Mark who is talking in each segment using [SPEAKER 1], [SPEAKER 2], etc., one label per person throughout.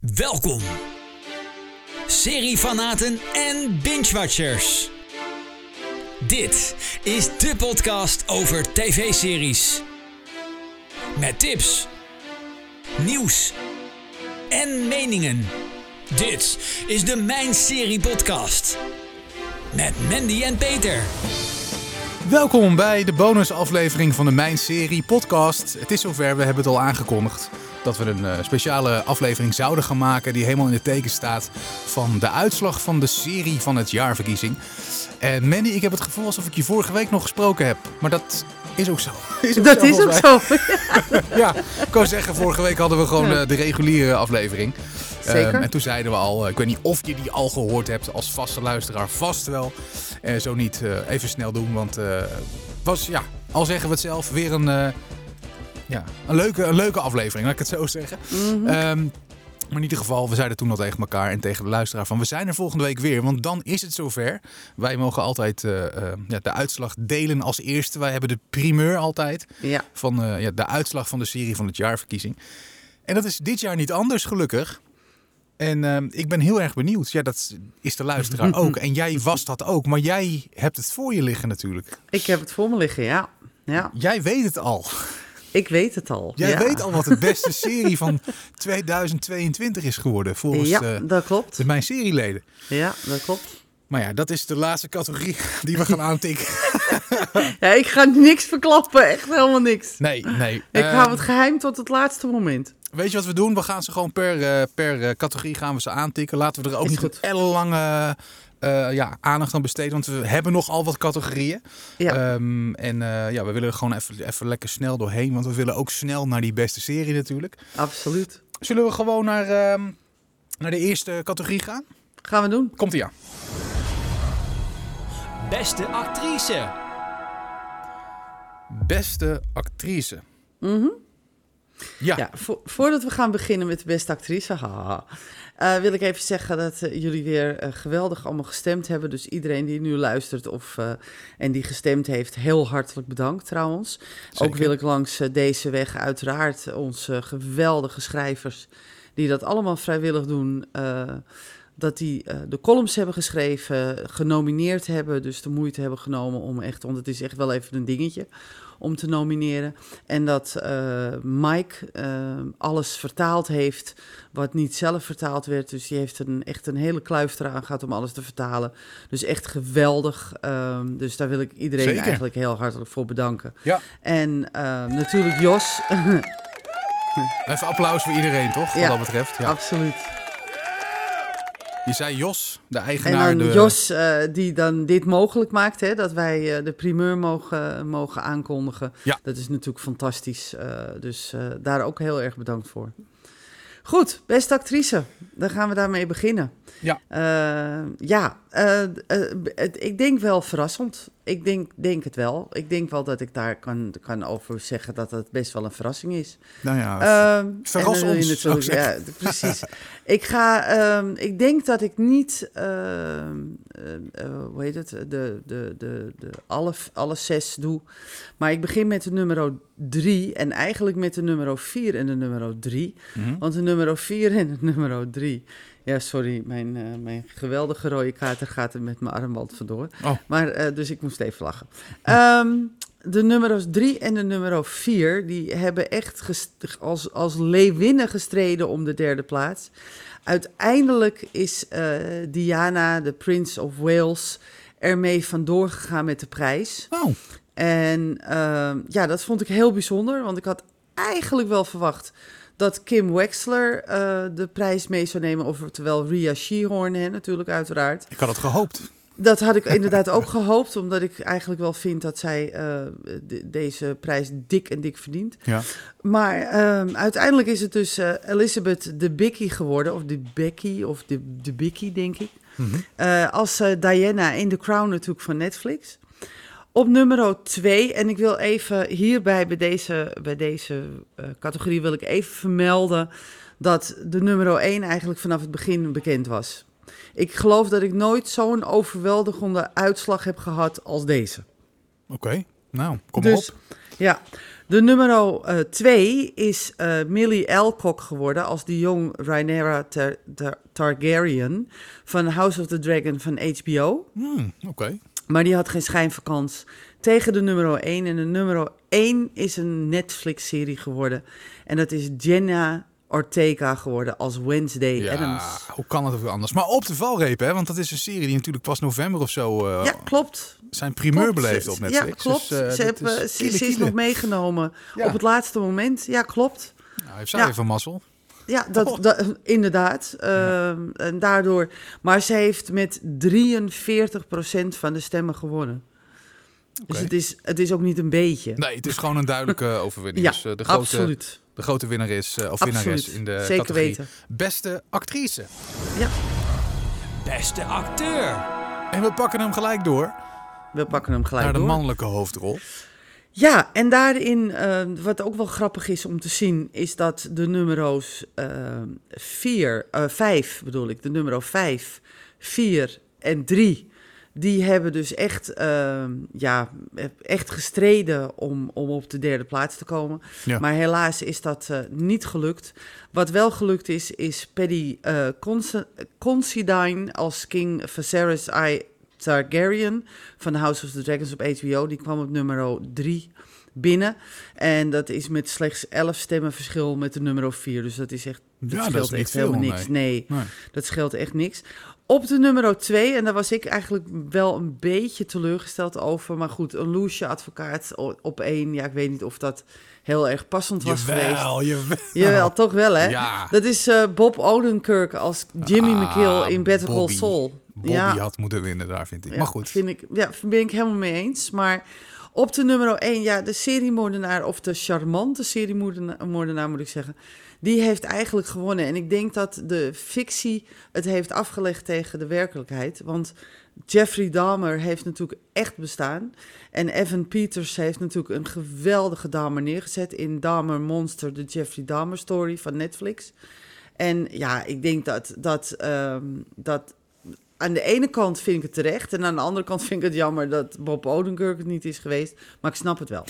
[SPEAKER 1] Welkom, seriefanaten en binge-watchers. Dit is de podcast over tv-series. Met tips, nieuws en meningen. Dit is de Mijn Serie Podcast. Met Mandy en Peter.
[SPEAKER 2] Welkom bij de bonusaflevering van de Mijn Serie podcast. Het is zover, we hebben het al aangekondigd dat we een eh, speciale aflevering zouden gaan maken die helemaal in het teken staat van de uitslag van de serie van het jaarverkiezing. En Mandy, ik heb het gevoel alsof ik je vorige week nog gesproken heb, maar dat is ook zo.
[SPEAKER 3] Dat is ook
[SPEAKER 2] volgens mij.
[SPEAKER 3] zo.
[SPEAKER 2] Ja, ik kan zeggen, vorige week hadden we gewoon eh, de reguliere aflevering.
[SPEAKER 3] Zeker.
[SPEAKER 2] Ehm, en toen zeiden we al, eh, ik weet niet of je die al gehoord hebt als vaste luisteraar, vast wel. Eh, zo niet, eh, even snel doen, want eh, was, ja, al zeggen we het zelf, weer een, eh, ja, een, leuke, een leuke aflevering, laat ik het zo zeggen. Ehm, maar in ieder geval, we zeiden toen al tegen elkaar en tegen de luisteraar van... we zijn er volgende week weer, want dan is het zover. Wij mogen altijd eh, eh, ja, de uitslag delen als eerste. Wij hebben de primeur altijd
[SPEAKER 3] Ja.
[SPEAKER 2] van eh, ja, de uitslag van de serie van het jaarverkiezing. En dat is dit jaar niet anders, gelukkig. En ehm, ik ben heel erg benieuwd. Ja, dat is de luisteraar ook. En jij was dat ook. Maar jij hebt het voor je liggen natuurlijk.
[SPEAKER 3] Ik heb het voor me liggen, ja. ja.
[SPEAKER 2] Jij weet het al.
[SPEAKER 3] Ik weet het al.
[SPEAKER 2] Jij
[SPEAKER 3] ja.
[SPEAKER 2] weet al wat de beste serie van 2022 is geworden. Volgens
[SPEAKER 3] Ja,
[SPEAKER 2] eh,
[SPEAKER 3] dat klopt.
[SPEAKER 2] de, mijn serieleden.
[SPEAKER 3] Ja, dat klopt.
[SPEAKER 2] Maar ja, dat is de laatste categorie die we gaan aantikken.
[SPEAKER 3] Ja, ik ga niks verklappen, echt helemaal niks.
[SPEAKER 2] Nee, nee.
[SPEAKER 3] Ik
[SPEAKER 2] Ehm,
[SPEAKER 3] hou het geheim tot het laatste moment.
[SPEAKER 2] Weet je wat we doen? We gaan ze gewoon per, eh, per eh, categorie gaan we ze aantikken. Laten we er ook
[SPEAKER 3] Is
[SPEAKER 2] niet
[SPEAKER 3] goed.
[SPEAKER 2] een ellenlange eh, ja, aandacht aan besteden. Want we hebben nogal wat categorieën.
[SPEAKER 3] Ja.
[SPEAKER 2] Ehm, en eh, ja, we willen er gewoon even, even lekker snel doorheen. Want we willen ook snel naar die beste serie natuurlijk.
[SPEAKER 3] Absoluut.
[SPEAKER 2] Zullen we gewoon naar, ehm, naar de eerste categorie gaan?
[SPEAKER 3] Gaan we doen.
[SPEAKER 2] Komt ie aan.
[SPEAKER 1] Beste actrice.
[SPEAKER 2] Beste actrice. Ja.
[SPEAKER 3] Mhm. Ja, vo- voordat we gaan beginnen met de beste actrice, haha, eh, wil ik even zeggen dat eh, jullie weer eh, geweldig allemaal gestemd hebben. Dus iedereen die nu luistert of, eh, en die gestemd heeft, heel hartelijk bedankt trouwens. Ook
[SPEAKER 2] Zeker.
[SPEAKER 3] wil ik langs eh, deze weg uiteraard onze geweldige schrijvers, die dat allemaal vrijwillig doen, eh, dat die eh, de columns hebben geschreven, genomineerd hebben, dus de moeite hebben genomen om echt, want het is echt wel even een dingetje om te nomineren. En dat eh, Mike eh, alles vertaald heeft wat niet zelf vertaald werd. Dus die heeft een, echt een hele kluif eraan gehad om alles te vertalen. Dus echt geweldig. Ehm, dus daar wil ik iedereen
[SPEAKER 2] Zeker.
[SPEAKER 3] eigenlijk heel hartelijk voor bedanken.
[SPEAKER 2] Ja.
[SPEAKER 3] En ehm, natuurlijk Jos.
[SPEAKER 2] Even applaus voor iedereen, toch? Wat
[SPEAKER 3] Ja.
[SPEAKER 2] dat betreft. Ja.
[SPEAKER 3] Absoluut.
[SPEAKER 2] Je zei Jos, de
[SPEAKER 3] En
[SPEAKER 2] eigenaar.
[SPEAKER 3] dan
[SPEAKER 2] de...
[SPEAKER 3] Jos, eh, die dan dit mogelijk maakt, hè, dat wij eh, de primeur mogen, mogen aankondigen.
[SPEAKER 2] Ja.
[SPEAKER 3] Dat is natuurlijk fantastisch. eh, dus eh, daar ook heel erg bedankt voor. Goed, beste actrice. Dan gaan we daarmee beginnen.
[SPEAKER 2] Ja.
[SPEAKER 3] Eh, ja, eh, eh, het- ik denk wel verrassend. Ik denk, denk het wel. Ik denk wel dat ik daar kan, kan over zeggen dat het best wel een verrassing is.
[SPEAKER 2] Nou ja,
[SPEAKER 3] Ehm,
[SPEAKER 2] verras
[SPEAKER 3] en dan wil je
[SPEAKER 2] ons, zou ik
[SPEAKER 3] natuurlijk- Ja, d- precies. ik ga, ehm, ik denk dat ik niet, ehm, eh, eh, hoe heet het, de, de, de, de alle, alle zes doe. Maar ik begin met de nummer drie en eigenlijk met de nummer vier en de nummer drie.
[SPEAKER 2] Mhm.
[SPEAKER 3] Want de nummer vier en de nummer drie. Ja, sorry, mijn, eh, mijn geweldige rode kater gaat er met mijn armband vandoor.
[SPEAKER 2] Oh.
[SPEAKER 3] Maar, eh, dus ik moest even lachen. Ehm, de nummers 3 en de nummer 4, die hebben echt gest- als, als leeuwinnen gestreden om de derde plaats. Uiteindelijk is eh, Diana, de Prince of Wales, ermee vandoor gegaan met de prijs.
[SPEAKER 2] Oh,
[SPEAKER 3] En ehm, ja, dat vond ik heel bijzonder, want ik had eigenlijk wel verwacht dat Kim Wexler eh, de prijs mee zou nemen, oftewel Rhea Sheehan, hè, natuurlijk uiteraard.
[SPEAKER 2] ik had het gehoopt.
[SPEAKER 3] Dat had ik inderdaad ook gehoopt, omdat ik eigenlijk wel vind dat zij eh, de- deze prijs dik en dik verdient.
[SPEAKER 2] Ja.
[SPEAKER 3] Maar ehm, uiteindelijk is het dus eh, Elizabeth de Bicky geworden, of de Becky, of de, de Bicky, denk ik.
[SPEAKER 2] Mhm.
[SPEAKER 3] Eh, als eh, Diana in The Crown natuurlijk van Netflix. Op nummer 2, en ik wil even hierbij bij deze, bij deze eh, categorie wil ik even vermelden dat de nummer 1 eigenlijk vanaf het begin bekend was. Ik geloof dat ik nooit zo'n overweldigende uitslag heb gehad als deze.
[SPEAKER 2] Oké, nou, kom maar
[SPEAKER 3] dus,
[SPEAKER 2] op.
[SPEAKER 3] Ja, De nummer 2 is eh, Millie Alcock geworden als de jong Rhaenyra Tar- Tar- Targaryen van House of the Dragon van HBO.
[SPEAKER 2] Hmm, Oké.
[SPEAKER 3] Maar die had geen schijnvakans tegen de nummer 1. En de nummer 1 is een Netflix-serie geworden. En dat is Jenna Ortega geworden als Wednesday
[SPEAKER 2] Ja, Oh.
[SPEAKER 3] Adams.
[SPEAKER 2] hoe kan het ook anders? Maar op de valreep, hè? Want dat is een serie die natuurlijk pas november of zo eh,
[SPEAKER 3] Ja, klopt.
[SPEAKER 2] zijn primeur
[SPEAKER 3] Klopt.
[SPEAKER 2] beleefd op Netflix.
[SPEAKER 3] Ja, klopt.
[SPEAKER 2] Dus, eh, dat
[SPEAKER 3] ze, hebben,
[SPEAKER 2] is
[SPEAKER 3] ze,
[SPEAKER 2] kiele,
[SPEAKER 3] ze is
[SPEAKER 2] kiele.
[SPEAKER 3] nog meegenomen
[SPEAKER 2] Ja.
[SPEAKER 3] op het laatste moment. Ja, klopt.
[SPEAKER 2] Nou, heeft zij
[SPEAKER 3] Ja.
[SPEAKER 2] even mazzel.
[SPEAKER 3] Ja, dat,
[SPEAKER 2] Oh.
[SPEAKER 3] dat- inderdaad. Ehm, En daardoor. Maar ze heeft met 43% van de stemmen gewonnen. Dus
[SPEAKER 2] Oké. Nou,
[SPEAKER 3] het is, het is ook niet een beetje.
[SPEAKER 2] Nee, het is gewoon een duidelijke overwinning.
[SPEAKER 3] ja,
[SPEAKER 2] dus, eh, de grote,
[SPEAKER 3] absoluut.
[SPEAKER 2] De grote winnaar is, eh, of winnares
[SPEAKER 3] Absoluut.
[SPEAKER 2] in de
[SPEAKER 3] Zeker
[SPEAKER 2] categorie
[SPEAKER 3] weten.
[SPEAKER 2] beste actrice.
[SPEAKER 3] Ja,
[SPEAKER 1] Beste acteur.
[SPEAKER 2] En we pakken hem gelijk door
[SPEAKER 3] we pakken hem gelijk
[SPEAKER 2] naar de
[SPEAKER 3] door.
[SPEAKER 2] mannelijke hoofdrol.
[SPEAKER 3] Ja, en daarin, eh, wat ook wel grappig is om te zien, is dat de ehm, nummero's 4, 5 eh, bedoel ik, de numero 5, 4 en 3, die hebben dus echt, eh, ja, echt gestreden om, om op de derde plaats te komen.
[SPEAKER 2] Ja.
[SPEAKER 3] Maar helaas is dat eh, niet gelukt. Wat wel gelukt is, is Paddy eh Consa- Considine als King Viserys I Targaryen van House of the Dragons op HBO. Die kwam op nummer 3 binnen. En dat is met slechts 11 stemmen verschil met de nummer 4. Dus dat is echt. Dat
[SPEAKER 2] Ja, dat
[SPEAKER 3] scheelt
[SPEAKER 2] is niet
[SPEAKER 3] echt
[SPEAKER 2] veel,
[SPEAKER 3] helemaal
[SPEAKER 2] nee.
[SPEAKER 3] niks. Nee,
[SPEAKER 2] Nee.
[SPEAKER 3] dat scheelt echt niks. Op de nummer 2, en daar was ik eigenlijk wel een beetje teleurgesteld over. Maar goed, een loesje advocaat o- op één. Ja, ik weet niet of dat heel erg passend was geweest.
[SPEAKER 2] Jawel, jawel.
[SPEAKER 3] Jawel, toch wel, hè?
[SPEAKER 2] Ja.
[SPEAKER 3] Dat is eh, Bob Odenkirk als Jimmy
[SPEAKER 2] Ah,
[SPEAKER 3] McGill in Better Call
[SPEAKER 2] Bobby.
[SPEAKER 3] Saul.
[SPEAKER 2] Bobby had moeten winnen daar, vind ik.
[SPEAKER 3] Ja,
[SPEAKER 2] maar goed.
[SPEAKER 3] Vind ik, ja, ben ik helemaal mee eens. Maar op de nummer 1, ja, de seriemoordenaar, of de charmante seriemoordenaar, moordenaar, moet ik zeggen, die heeft eigenlijk gewonnen. En ik denk dat de fictie het heeft afgelegd tegen de werkelijkheid. Want Jeffrey Dahmer heeft natuurlijk echt bestaan. En Evan Peters heeft natuurlijk een geweldige Dahmer neergezet in Dahmer Monster, de Jeffrey Dahmer story van Netflix. En ja, ik denk dat, dat, ehm, dat aan de ene kant vind ik het terecht. En aan de andere kant vind ik het jammer dat Bob Odenkirk het niet is geweest. Maar ik snap het wel.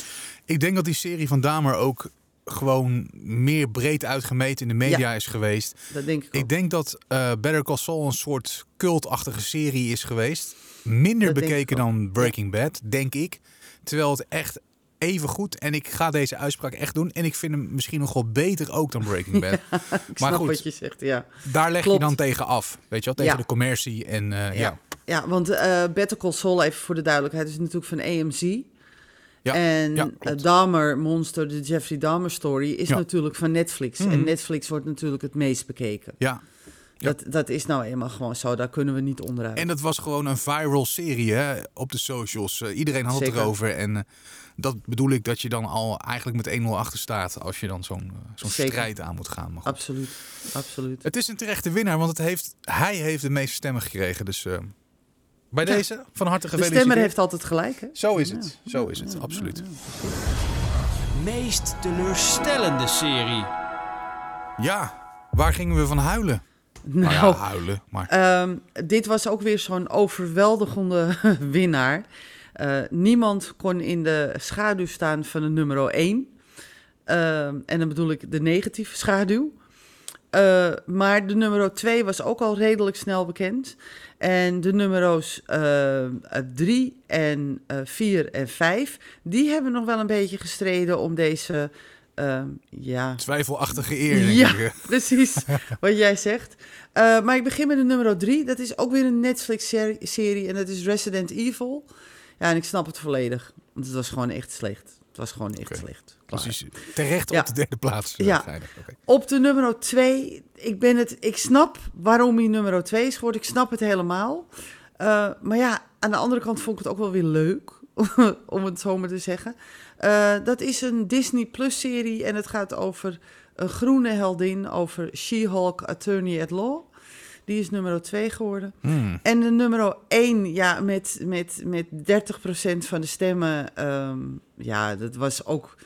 [SPEAKER 2] Ik denk dat die serie van Damer ook gewoon meer breed uitgemeten in de media is geweest.
[SPEAKER 3] Dat denk ik ook.
[SPEAKER 2] Ik denk dat eh, Better Call Saul een soort cultachtige serie is geweest. Minder
[SPEAKER 3] Dat denk
[SPEAKER 2] bekeken
[SPEAKER 3] ik ook.
[SPEAKER 2] dan Breaking Bad, denk ik. Terwijl het echt even goed en ik ga deze uitspraak echt doen en ik vind hem misschien nog wel beter ook dan Breaking Bad.
[SPEAKER 3] Ik
[SPEAKER 2] maar
[SPEAKER 3] snap
[SPEAKER 2] goed,
[SPEAKER 3] wat je zegt, ja.
[SPEAKER 2] daar leg
[SPEAKER 3] Klopt.
[SPEAKER 2] je dan tegen af, weet je wel, tegen
[SPEAKER 3] Ja.
[SPEAKER 2] de commercie en eh, ja.
[SPEAKER 3] Ja, want eh Better Call Saul, even voor de duidelijkheid, is natuurlijk van AMC.
[SPEAKER 2] Ja,
[SPEAKER 3] en
[SPEAKER 2] ja,
[SPEAKER 3] eh,
[SPEAKER 2] klopt.
[SPEAKER 3] Dahmer Monster, de Jeffrey Dahmer story, is
[SPEAKER 2] Ja. Mhm.
[SPEAKER 3] natuurlijk van Netflix. En Netflix wordt natuurlijk het meest bekeken.
[SPEAKER 2] ja.
[SPEAKER 3] Dat, dat is nou eenmaal gewoon zo, daar kunnen we niet onderuit.
[SPEAKER 2] En dat was gewoon een viral serie hè, op de socials. Eh, iedereen had
[SPEAKER 3] Zeker.
[SPEAKER 2] het erover. En eh, dat bedoel ik dat je dan al eigenlijk met 1-0 achter staat als je dan zo'n eh, zo'n
[SPEAKER 3] Zeker. Oh.
[SPEAKER 2] strijd aan moet gaan. Maar goed.
[SPEAKER 3] Absoluut, absoluut.
[SPEAKER 2] het is een terechte winnaar, want het heeft, hij heeft de meeste stemmen gekregen. Dus eh, bij deze van harte
[SPEAKER 3] De
[SPEAKER 2] gefeliciteerd.
[SPEAKER 3] stemmer heeft altijd gelijk, hè?
[SPEAKER 2] Zo is het, zo is het, absoluut.
[SPEAKER 1] Meest teleurstellende serie.
[SPEAKER 2] Ja, waar gingen we van huilen? Nou ja,
[SPEAKER 3] Nou.
[SPEAKER 2] huilen, maar...
[SPEAKER 3] Ehm, dit was ook weer zo'n overweldigende winnaar. Eh, niemand kon in de schaduw staan van de nummer 1. en dan bedoel ik de negatieve schaduw. Eh, maar de nummer 2 was ook al redelijk snel bekend. En de nummers 3 en 4 en 5, die hebben nog wel een beetje gestreden om deze ehm, ja,
[SPEAKER 2] Twijfelachtige eer, denk
[SPEAKER 3] ja,
[SPEAKER 2] ik. eh.
[SPEAKER 3] precies. Wat jij zegt. Eh, maar ik begin met de nummer drie. Dat is ook weer een Netflix-serie. En dat is Resident Evil. Ja, en ik snap het volledig. Want het was gewoon echt slecht. Het was gewoon echt
[SPEAKER 2] Oké.
[SPEAKER 3] slecht. Klaar.
[SPEAKER 2] Precies, terecht
[SPEAKER 3] Ja.
[SPEAKER 2] op de derde plaats. eh,
[SPEAKER 3] Ja.
[SPEAKER 2] geëindigd. Oké.
[SPEAKER 3] Op de nummer 2, ik, ben het, ik snap waarom hij nummer 2 is geworden. Ik snap het helemaal. Eh, maar ja, aan de andere kant vond ik het ook wel weer leuk, om het zo maar te zeggen. Eh, dat is een Disney Plus serie en het gaat over een groene heldin, over She-Hulk Attorney at Law. Die is nummer 2 geworden.
[SPEAKER 2] Hmm.
[SPEAKER 3] En de nummer 1, ja, met, met, met 30% van de stemmen. ehm, ja, dat was ook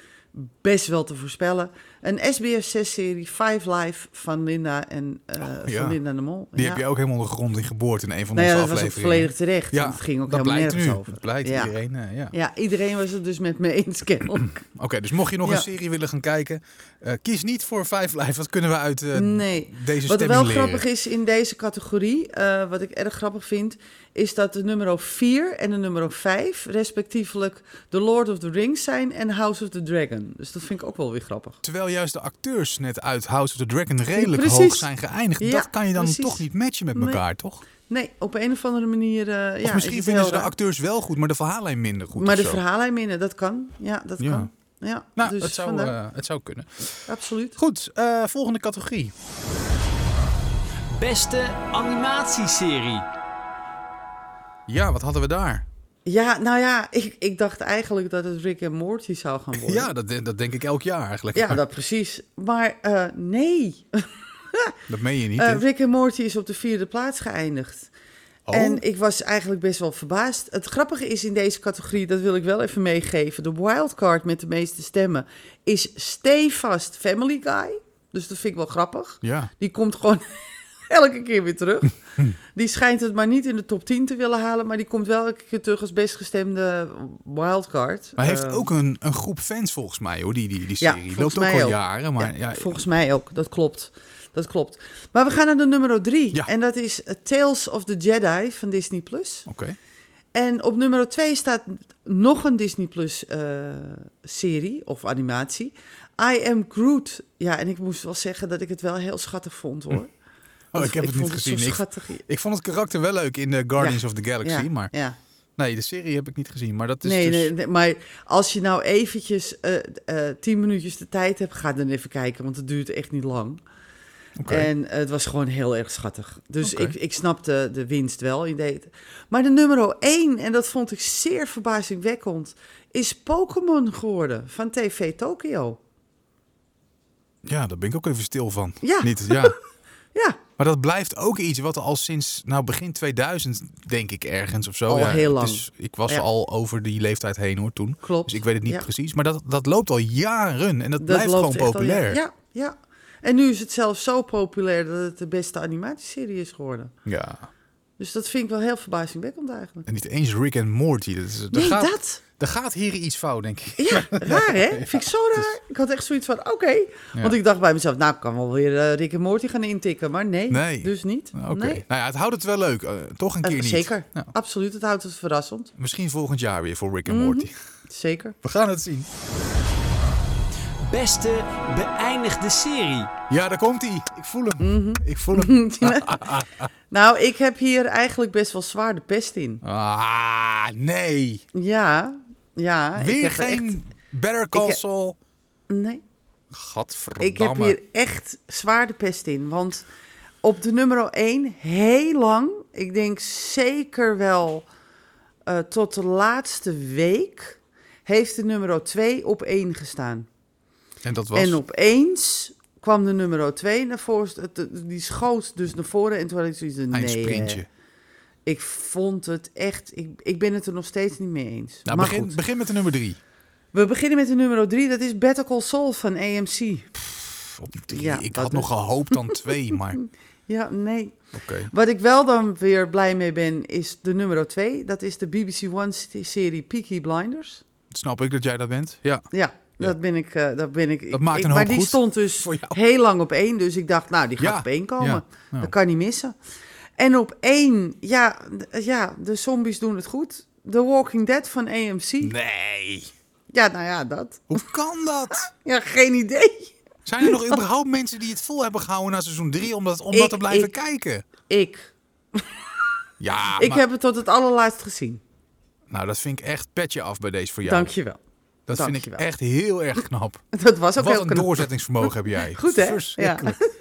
[SPEAKER 3] best wel te voorspellen. Een SBS6-serie, Five Life, van Linda en eh,
[SPEAKER 2] Oh, ja.
[SPEAKER 3] van Linda de Mol.
[SPEAKER 2] Die
[SPEAKER 3] ja.
[SPEAKER 2] heb je ook helemaal de grond in geboord in een van
[SPEAKER 3] Nou ja,
[SPEAKER 2] onze
[SPEAKER 3] dat was ook
[SPEAKER 2] afleveringen.
[SPEAKER 3] volledig terecht. Ja, het ging ook
[SPEAKER 2] dat
[SPEAKER 3] helemaal
[SPEAKER 2] blijkt
[SPEAKER 3] nergens
[SPEAKER 2] nu.
[SPEAKER 3] over.
[SPEAKER 2] Dat blijkt
[SPEAKER 3] ja.
[SPEAKER 2] iedereen. eh, ja.
[SPEAKER 3] Ja, iedereen was het dus met me eens, kennelijk.
[SPEAKER 2] Oké, dus mocht je nog
[SPEAKER 3] Ja.
[SPEAKER 2] een serie willen gaan kijken, eh, kies niet voor Five Live. Wat kunnen we uit eh,
[SPEAKER 3] Nee.
[SPEAKER 2] deze
[SPEAKER 3] Wat
[SPEAKER 2] stemming
[SPEAKER 3] wel
[SPEAKER 2] leren?
[SPEAKER 3] grappig is in deze categorie, eh, wat ik erg grappig vind, is dat de nummer 4 en de nummer 5 respectievelijk The Lord of the Rings zijn en House of the Dragon. Dus dat vind ik ook wel weer grappig.
[SPEAKER 2] Terwijl juist de acteurs net uit House of the Dragon redelijk
[SPEAKER 3] precies.
[SPEAKER 2] hoog zijn geëindigd.
[SPEAKER 3] Ja,
[SPEAKER 2] dat kan je dan
[SPEAKER 3] precies.
[SPEAKER 2] toch niet matchen met
[SPEAKER 3] Nee.
[SPEAKER 2] elkaar, toch? Of
[SPEAKER 3] Nee, op een of andere manier. eh, ja, is
[SPEAKER 2] misschien
[SPEAKER 3] het
[SPEAKER 2] vinden
[SPEAKER 3] heel
[SPEAKER 2] ze de
[SPEAKER 3] raar.
[SPEAKER 2] acteurs wel goed, maar de verhaallijn minder goed.
[SPEAKER 3] Maar
[SPEAKER 2] of
[SPEAKER 3] de
[SPEAKER 2] zo.
[SPEAKER 3] verhalen minder, dat kan. Ja, dat
[SPEAKER 2] Ja.
[SPEAKER 3] kan. Ja,
[SPEAKER 2] Nou,
[SPEAKER 3] dus
[SPEAKER 2] het, zou,
[SPEAKER 3] vandaar.
[SPEAKER 2] eh, het zou kunnen.
[SPEAKER 3] absoluut.
[SPEAKER 2] Goed, eh, volgende categorie.
[SPEAKER 1] Beste animatieserie.
[SPEAKER 2] Ja, wat hadden we daar?
[SPEAKER 3] Ja, nou ja, ik, ik dacht eigenlijk dat het Rick en Morty zou gaan worden.
[SPEAKER 2] Ja, dat, dat denk ik elk jaar eigenlijk.
[SPEAKER 3] Ja, dat precies. Maar eh, nee,
[SPEAKER 2] Dat meen je niet.
[SPEAKER 3] Eh,
[SPEAKER 2] hè?
[SPEAKER 3] Rick en Morty is op de vierde plaats geëindigd.
[SPEAKER 2] Oh.
[SPEAKER 3] En ik was eigenlijk best wel verbaasd. Het grappige is in deze categorie, dat wil ik wel even meegeven. De wildcard met de meeste stemmen is stevast Family Guy. Dus dat vind ik wel grappig.
[SPEAKER 2] Ja.
[SPEAKER 3] Die komt gewoon elke keer weer terug. Die schijnt het maar niet in de top 10 te willen halen. Maar die komt wel elke keer terug als best gestemde wildcard.
[SPEAKER 2] Maar heeft
[SPEAKER 3] Eh,
[SPEAKER 2] ook een, een groep fans volgens mij, hoor, die, die, die
[SPEAKER 3] Ja,
[SPEAKER 2] serie.
[SPEAKER 3] volgens
[SPEAKER 2] Loopt ook al
[SPEAKER 3] mij ook.
[SPEAKER 2] jaren, maar
[SPEAKER 3] Ja,
[SPEAKER 2] ja,
[SPEAKER 3] volgens mij ook. Dat klopt. Dat klopt. Maar we gaan naar de nummer drie.
[SPEAKER 2] Ja.
[SPEAKER 3] En dat is eh, Tales of the Jedi van Disney+. Plus.
[SPEAKER 2] oké. Oh,
[SPEAKER 3] En op nummer 2 staat nog een Disney Plus eh, serie of animatie. I Am Groot. Ja, en ik moest wel zeggen dat ik het wel heel schattig vond hoor.
[SPEAKER 2] Oh, ik heb het niet
[SPEAKER 3] vond zo
[SPEAKER 2] gezien. Ik,
[SPEAKER 3] schattig.
[SPEAKER 2] ik vond het karakter wel leuk in eh, Guardians
[SPEAKER 3] Ja.
[SPEAKER 2] of the Galaxy,
[SPEAKER 3] ja,
[SPEAKER 2] maar
[SPEAKER 3] ja.
[SPEAKER 2] nee, de serie heb ik niet gezien. Maar dat is
[SPEAKER 3] Nee,
[SPEAKER 2] dus...
[SPEAKER 3] nee, nee, maar als je nou eventjes eh eh, tien minuutjes de tijd hebt, ga dan even kijken, want het duurt echt niet lang.
[SPEAKER 2] Oké.
[SPEAKER 3] En eh, het was gewoon heel erg schattig. Dus
[SPEAKER 2] Oké.
[SPEAKER 3] ik, ik snapte de winst wel. in deed. Maar de nummer 1, en dat vond ik zeer verbazingwekkend, is Pokémon geworden van TV Tokyo.
[SPEAKER 2] Ja, daar ben ik ook even stil van.
[SPEAKER 3] Ja.
[SPEAKER 2] Niet, ja.
[SPEAKER 3] Ja,
[SPEAKER 2] Maar dat blijft ook iets wat al sinds nou, begin 2000, denk ik, ergens of zo.
[SPEAKER 3] Al
[SPEAKER 2] ja,
[SPEAKER 3] heel
[SPEAKER 2] het
[SPEAKER 3] lang.
[SPEAKER 2] is- ik was
[SPEAKER 3] Ja.
[SPEAKER 2] al over die leeftijd heen hoor toen.
[SPEAKER 3] Klopt,
[SPEAKER 2] Dus ik weet het niet
[SPEAKER 3] ja.
[SPEAKER 2] precies. Maar dat, dat loopt al jaren en dat,
[SPEAKER 3] dat
[SPEAKER 2] blijft
[SPEAKER 3] loopt
[SPEAKER 2] gewoon
[SPEAKER 3] echt al
[SPEAKER 2] populair.
[SPEAKER 3] jaren. Ja, ja. En nu is het zelfs zo populair dat het de beste animatieserie is geworden.
[SPEAKER 2] Ja.
[SPEAKER 3] Dus dat vind ik wel heel verbazingwekkend eigenlijk.
[SPEAKER 2] En niet eens Rick en Morty. Dat, is, daar
[SPEAKER 3] Nee,
[SPEAKER 2] gaat,
[SPEAKER 3] dat.
[SPEAKER 2] daar gaat hier iets fout, denk ik.
[SPEAKER 3] Ja, raar hè? Vind ik zo
[SPEAKER 2] dus-
[SPEAKER 3] raar. Ik had echt zoiets van, oké. Want ik dacht bij mezelf, nou, ik kan wel weer eh, Rick en Morty gaan intikken. Maar nee,
[SPEAKER 2] Nee.
[SPEAKER 3] dus niet.
[SPEAKER 2] Oké.
[SPEAKER 3] Nee.
[SPEAKER 2] Nou ja, het houdt het wel leuk. eh, toch een
[SPEAKER 3] Eh,
[SPEAKER 2] keer niet.
[SPEAKER 3] Zeker,
[SPEAKER 2] Nou,
[SPEAKER 3] absoluut. Het houdt het verrassend.
[SPEAKER 2] misschien volgend jaar weer voor
[SPEAKER 3] Mhm.
[SPEAKER 2] Rick en Morty.
[SPEAKER 3] Zeker.
[SPEAKER 2] We gaan het zien.
[SPEAKER 1] Beste beëindigde serie.
[SPEAKER 2] Ja, daar komt hij. Ik voel hem.
[SPEAKER 3] Mhm.
[SPEAKER 2] Ik voel hem.
[SPEAKER 3] Nou, ik heb hier eigenlijk best wel zwaar de pest in.
[SPEAKER 2] ah, nee.
[SPEAKER 3] Ja, ja. ik
[SPEAKER 2] Weer
[SPEAKER 3] heb er
[SPEAKER 2] geen
[SPEAKER 3] echt-
[SPEAKER 2] Better
[SPEAKER 3] Ik
[SPEAKER 2] Call
[SPEAKER 3] heb-
[SPEAKER 2] Saul.
[SPEAKER 3] nee,
[SPEAKER 2] Gadverdamme.
[SPEAKER 3] ik heb hier echt zwaar de pest in. Want op de nummer 1 heel lang, ik denk zeker wel eh, tot de laatste week, heeft de nummer 2 op 1 gestaan.
[SPEAKER 2] En dat was...
[SPEAKER 3] En opeens kwam de nummer 2 naar voren. Het- het- Die schoot dus naar voren. En toen had ik zoiets van, nee. eh,
[SPEAKER 2] Eindsprintje.
[SPEAKER 3] hè. Ik vond het echt... Ik, ik ben het er nog steeds niet mee eens.
[SPEAKER 2] nou,
[SPEAKER 3] maar
[SPEAKER 2] begin,
[SPEAKER 3] goed.
[SPEAKER 2] begin met de nummer drie.
[SPEAKER 3] We beginnen met de nummer 3. Dat is Better Call Saul van AMC.
[SPEAKER 2] Op die drie.
[SPEAKER 3] Ja,
[SPEAKER 2] ik
[SPEAKER 3] dat
[SPEAKER 2] had
[SPEAKER 3] dus.
[SPEAKER 2] nog gehoopt dan twee, maar... Oké.
[SPEAKER 3] Ja, nee. Wat ik wel dan weer blij mee ben, is de nummer 2. Dat is de BBC One-serie Peaky Blinders.
[SPEAKER 2] Snap ik dat jij dat bent? Ja.
[SPEAKER 3] Ja,
[SPEAKER 2] Ja.
[SPEAKER 3] dat ben ik. eh, dat ben ik, ik-
[SPEAKER 2] maakt
[SPEAKER 3] ik-
[SPEAKER 2] een
[SPEAKER 3] Maar
[SPEAKER 2] hoop
[SPEAKER 3] die
[SPEAKER 2] goed
[SPEAKER 3] stond dus
[SPEAKER 2] voor jou.
[SPEAKER 3] heel lang op één. Dus ik dacht, nou, die gaat
[SPEAKER 2] Ja,
[SPEAKER 3] op één komen.
[SPEAKER 2] ja, Nou. ja.
[SPEAKER 3] Dat kan niet missen. En op één, ja, d- ja, de zombies doen het goed. The Walking Dead van AMC.
[SPEAKER 2] Nee.
[SPEAKER 3] Ja, nou ja, dat.
[SPEAKER 2] Hoe kan dat?
[SPEAKER 3] Ja, geen idee.
[SPEAKER 2] Zijn er nog überhaupt mensen die het vol hebben gehouden na seizoen drie om dat, om dat
[SPEAKER 3] Ik-
[SPEAKER 2] te blijven
[SPEAKER 3] ik-
[SPEAKER 2] kijken?
[SPEAKER 3] Ik.
[SPEAKER 2] Ja,
[SPEAKER 3] ik
[SPEAKER 2] Ah, maar-
[SPEAKER 3] heb het tot het allerlaatst gezien.
[SPEAKER 2] nou dat vind ik echt petje af bij deze voor jou.
[SPEAKER 3] Dank je wel.
[SPEAKER 2] dat
[SPEAKER 3] dank
[SPEAKER 2] vind
[SPEAKER 3] je
[SPEAKER 2] ik
[SPEAKER 3] wel.
[SPEAKER 2] echt heel erg knap.
[SPEAKER 3] Dat was ook
[SPEAKER 2] Wat
[SPEAKER 3] heel
[SPEAKER 2] een
[SPEAKER 3] knap.
[SPEAKER 2] doorzettingsvermogen heb jij.
[SPEAKER 3] Goed, hè? Ja.
[SPEAKER 2] Verschrikkelijk.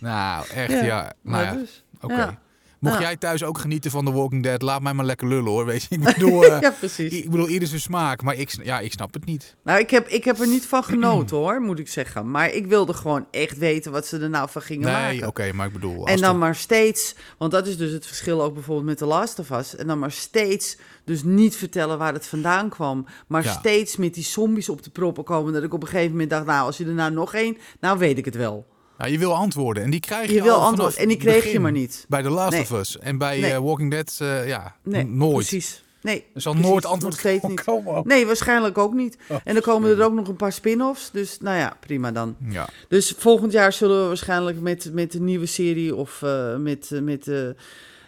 [SPEAKER 2] Nou, echt, ja. Nou
[SPEAKER 3] maar
[SPEAKER 2] ja,
[SPEAKER 3] dus.
[SPEAKER 2] oké.
[SPEAKER 3] Ja.
[SPEAKER 2] Mocht
[SPEAKER 3] Ja.
[SPEAKER 2] jij thuis ook genieten van The Walking Dead, laat mij maar lekker lullen hoor. Weet je, ik bedoel, eh,
[SPEAKER 3] ja, precies.
[SPEAKER 2] ik bedoel ieder zijn smaak, maar ik, sn- ja, ik snap het niet.
[SPEAKER 3] Nou, ik heb, ik heb er niet van genoten hoor, moet ik zeggen. Maar ik wilde gewoon echt weten wat ze er nou van gingen
[SPEAKER 2] Nee,
[SPEAKER 3] maken.
[SPEAKER 2] oké, maar ik bedoel. als
[SPEAKER 3] En dan
[SPEAKER 2] de-
[SPEAKER 3] maar steeds, want dat is dus het verschil ook bijvoorbeeld met The Last of Us. En dan maar steeds dus niet vertellen waar het vandaan kwam. Maar
[SPEAKER 2] Ja.
[SPEAKER 3] steeds met die zombies op de proppen komen. Dat ik op een gegeven moment dacht, nou als je er nou nog één, nou weet ik het wel.
[SPEAKER 2] Nou, je wil antwoorden en die krijg je,
[SPEAKER 3] Je wil
[SPEAKER 2] al vanaf
[SPEAKER 3] antwoord en die kreeg je
[SPEAKER 2] begin.
[SPEAKER 3] maar niet.
[SPEAKER 2] Bij The Last
[SPEAKER 3] Nee.
[SPEAKER 2] of Us en bij
[SPEAKER 3] Nee.
[SPEAKER 2] eh, Walking Dead, eh, ja,
[SPEAKER 3] Nee,
[SPEAKER 2] n- nooit.
[SPEAKER 3] Precies. Nee,
[SPEAKER 2] Er zal
[SPEAKER 3] precies,
[SPEAKER 2] nooit antwoord
[SPEAKER 3] nog steeds niet.
[SPEAKER 2] komen. ook. Oh,
[SPEAKER 3] Nee, waarschijnlijk ook niet. En dan komen er ook nog een paar spin-offs. Dus nou ja, prima dan.
[SPEAKER 2] Ja.
[SPEAKER 3] Dus volgend jaar zullen we waarschijnlijk met, met een nieuwe serie of eh, met. eh, met eh,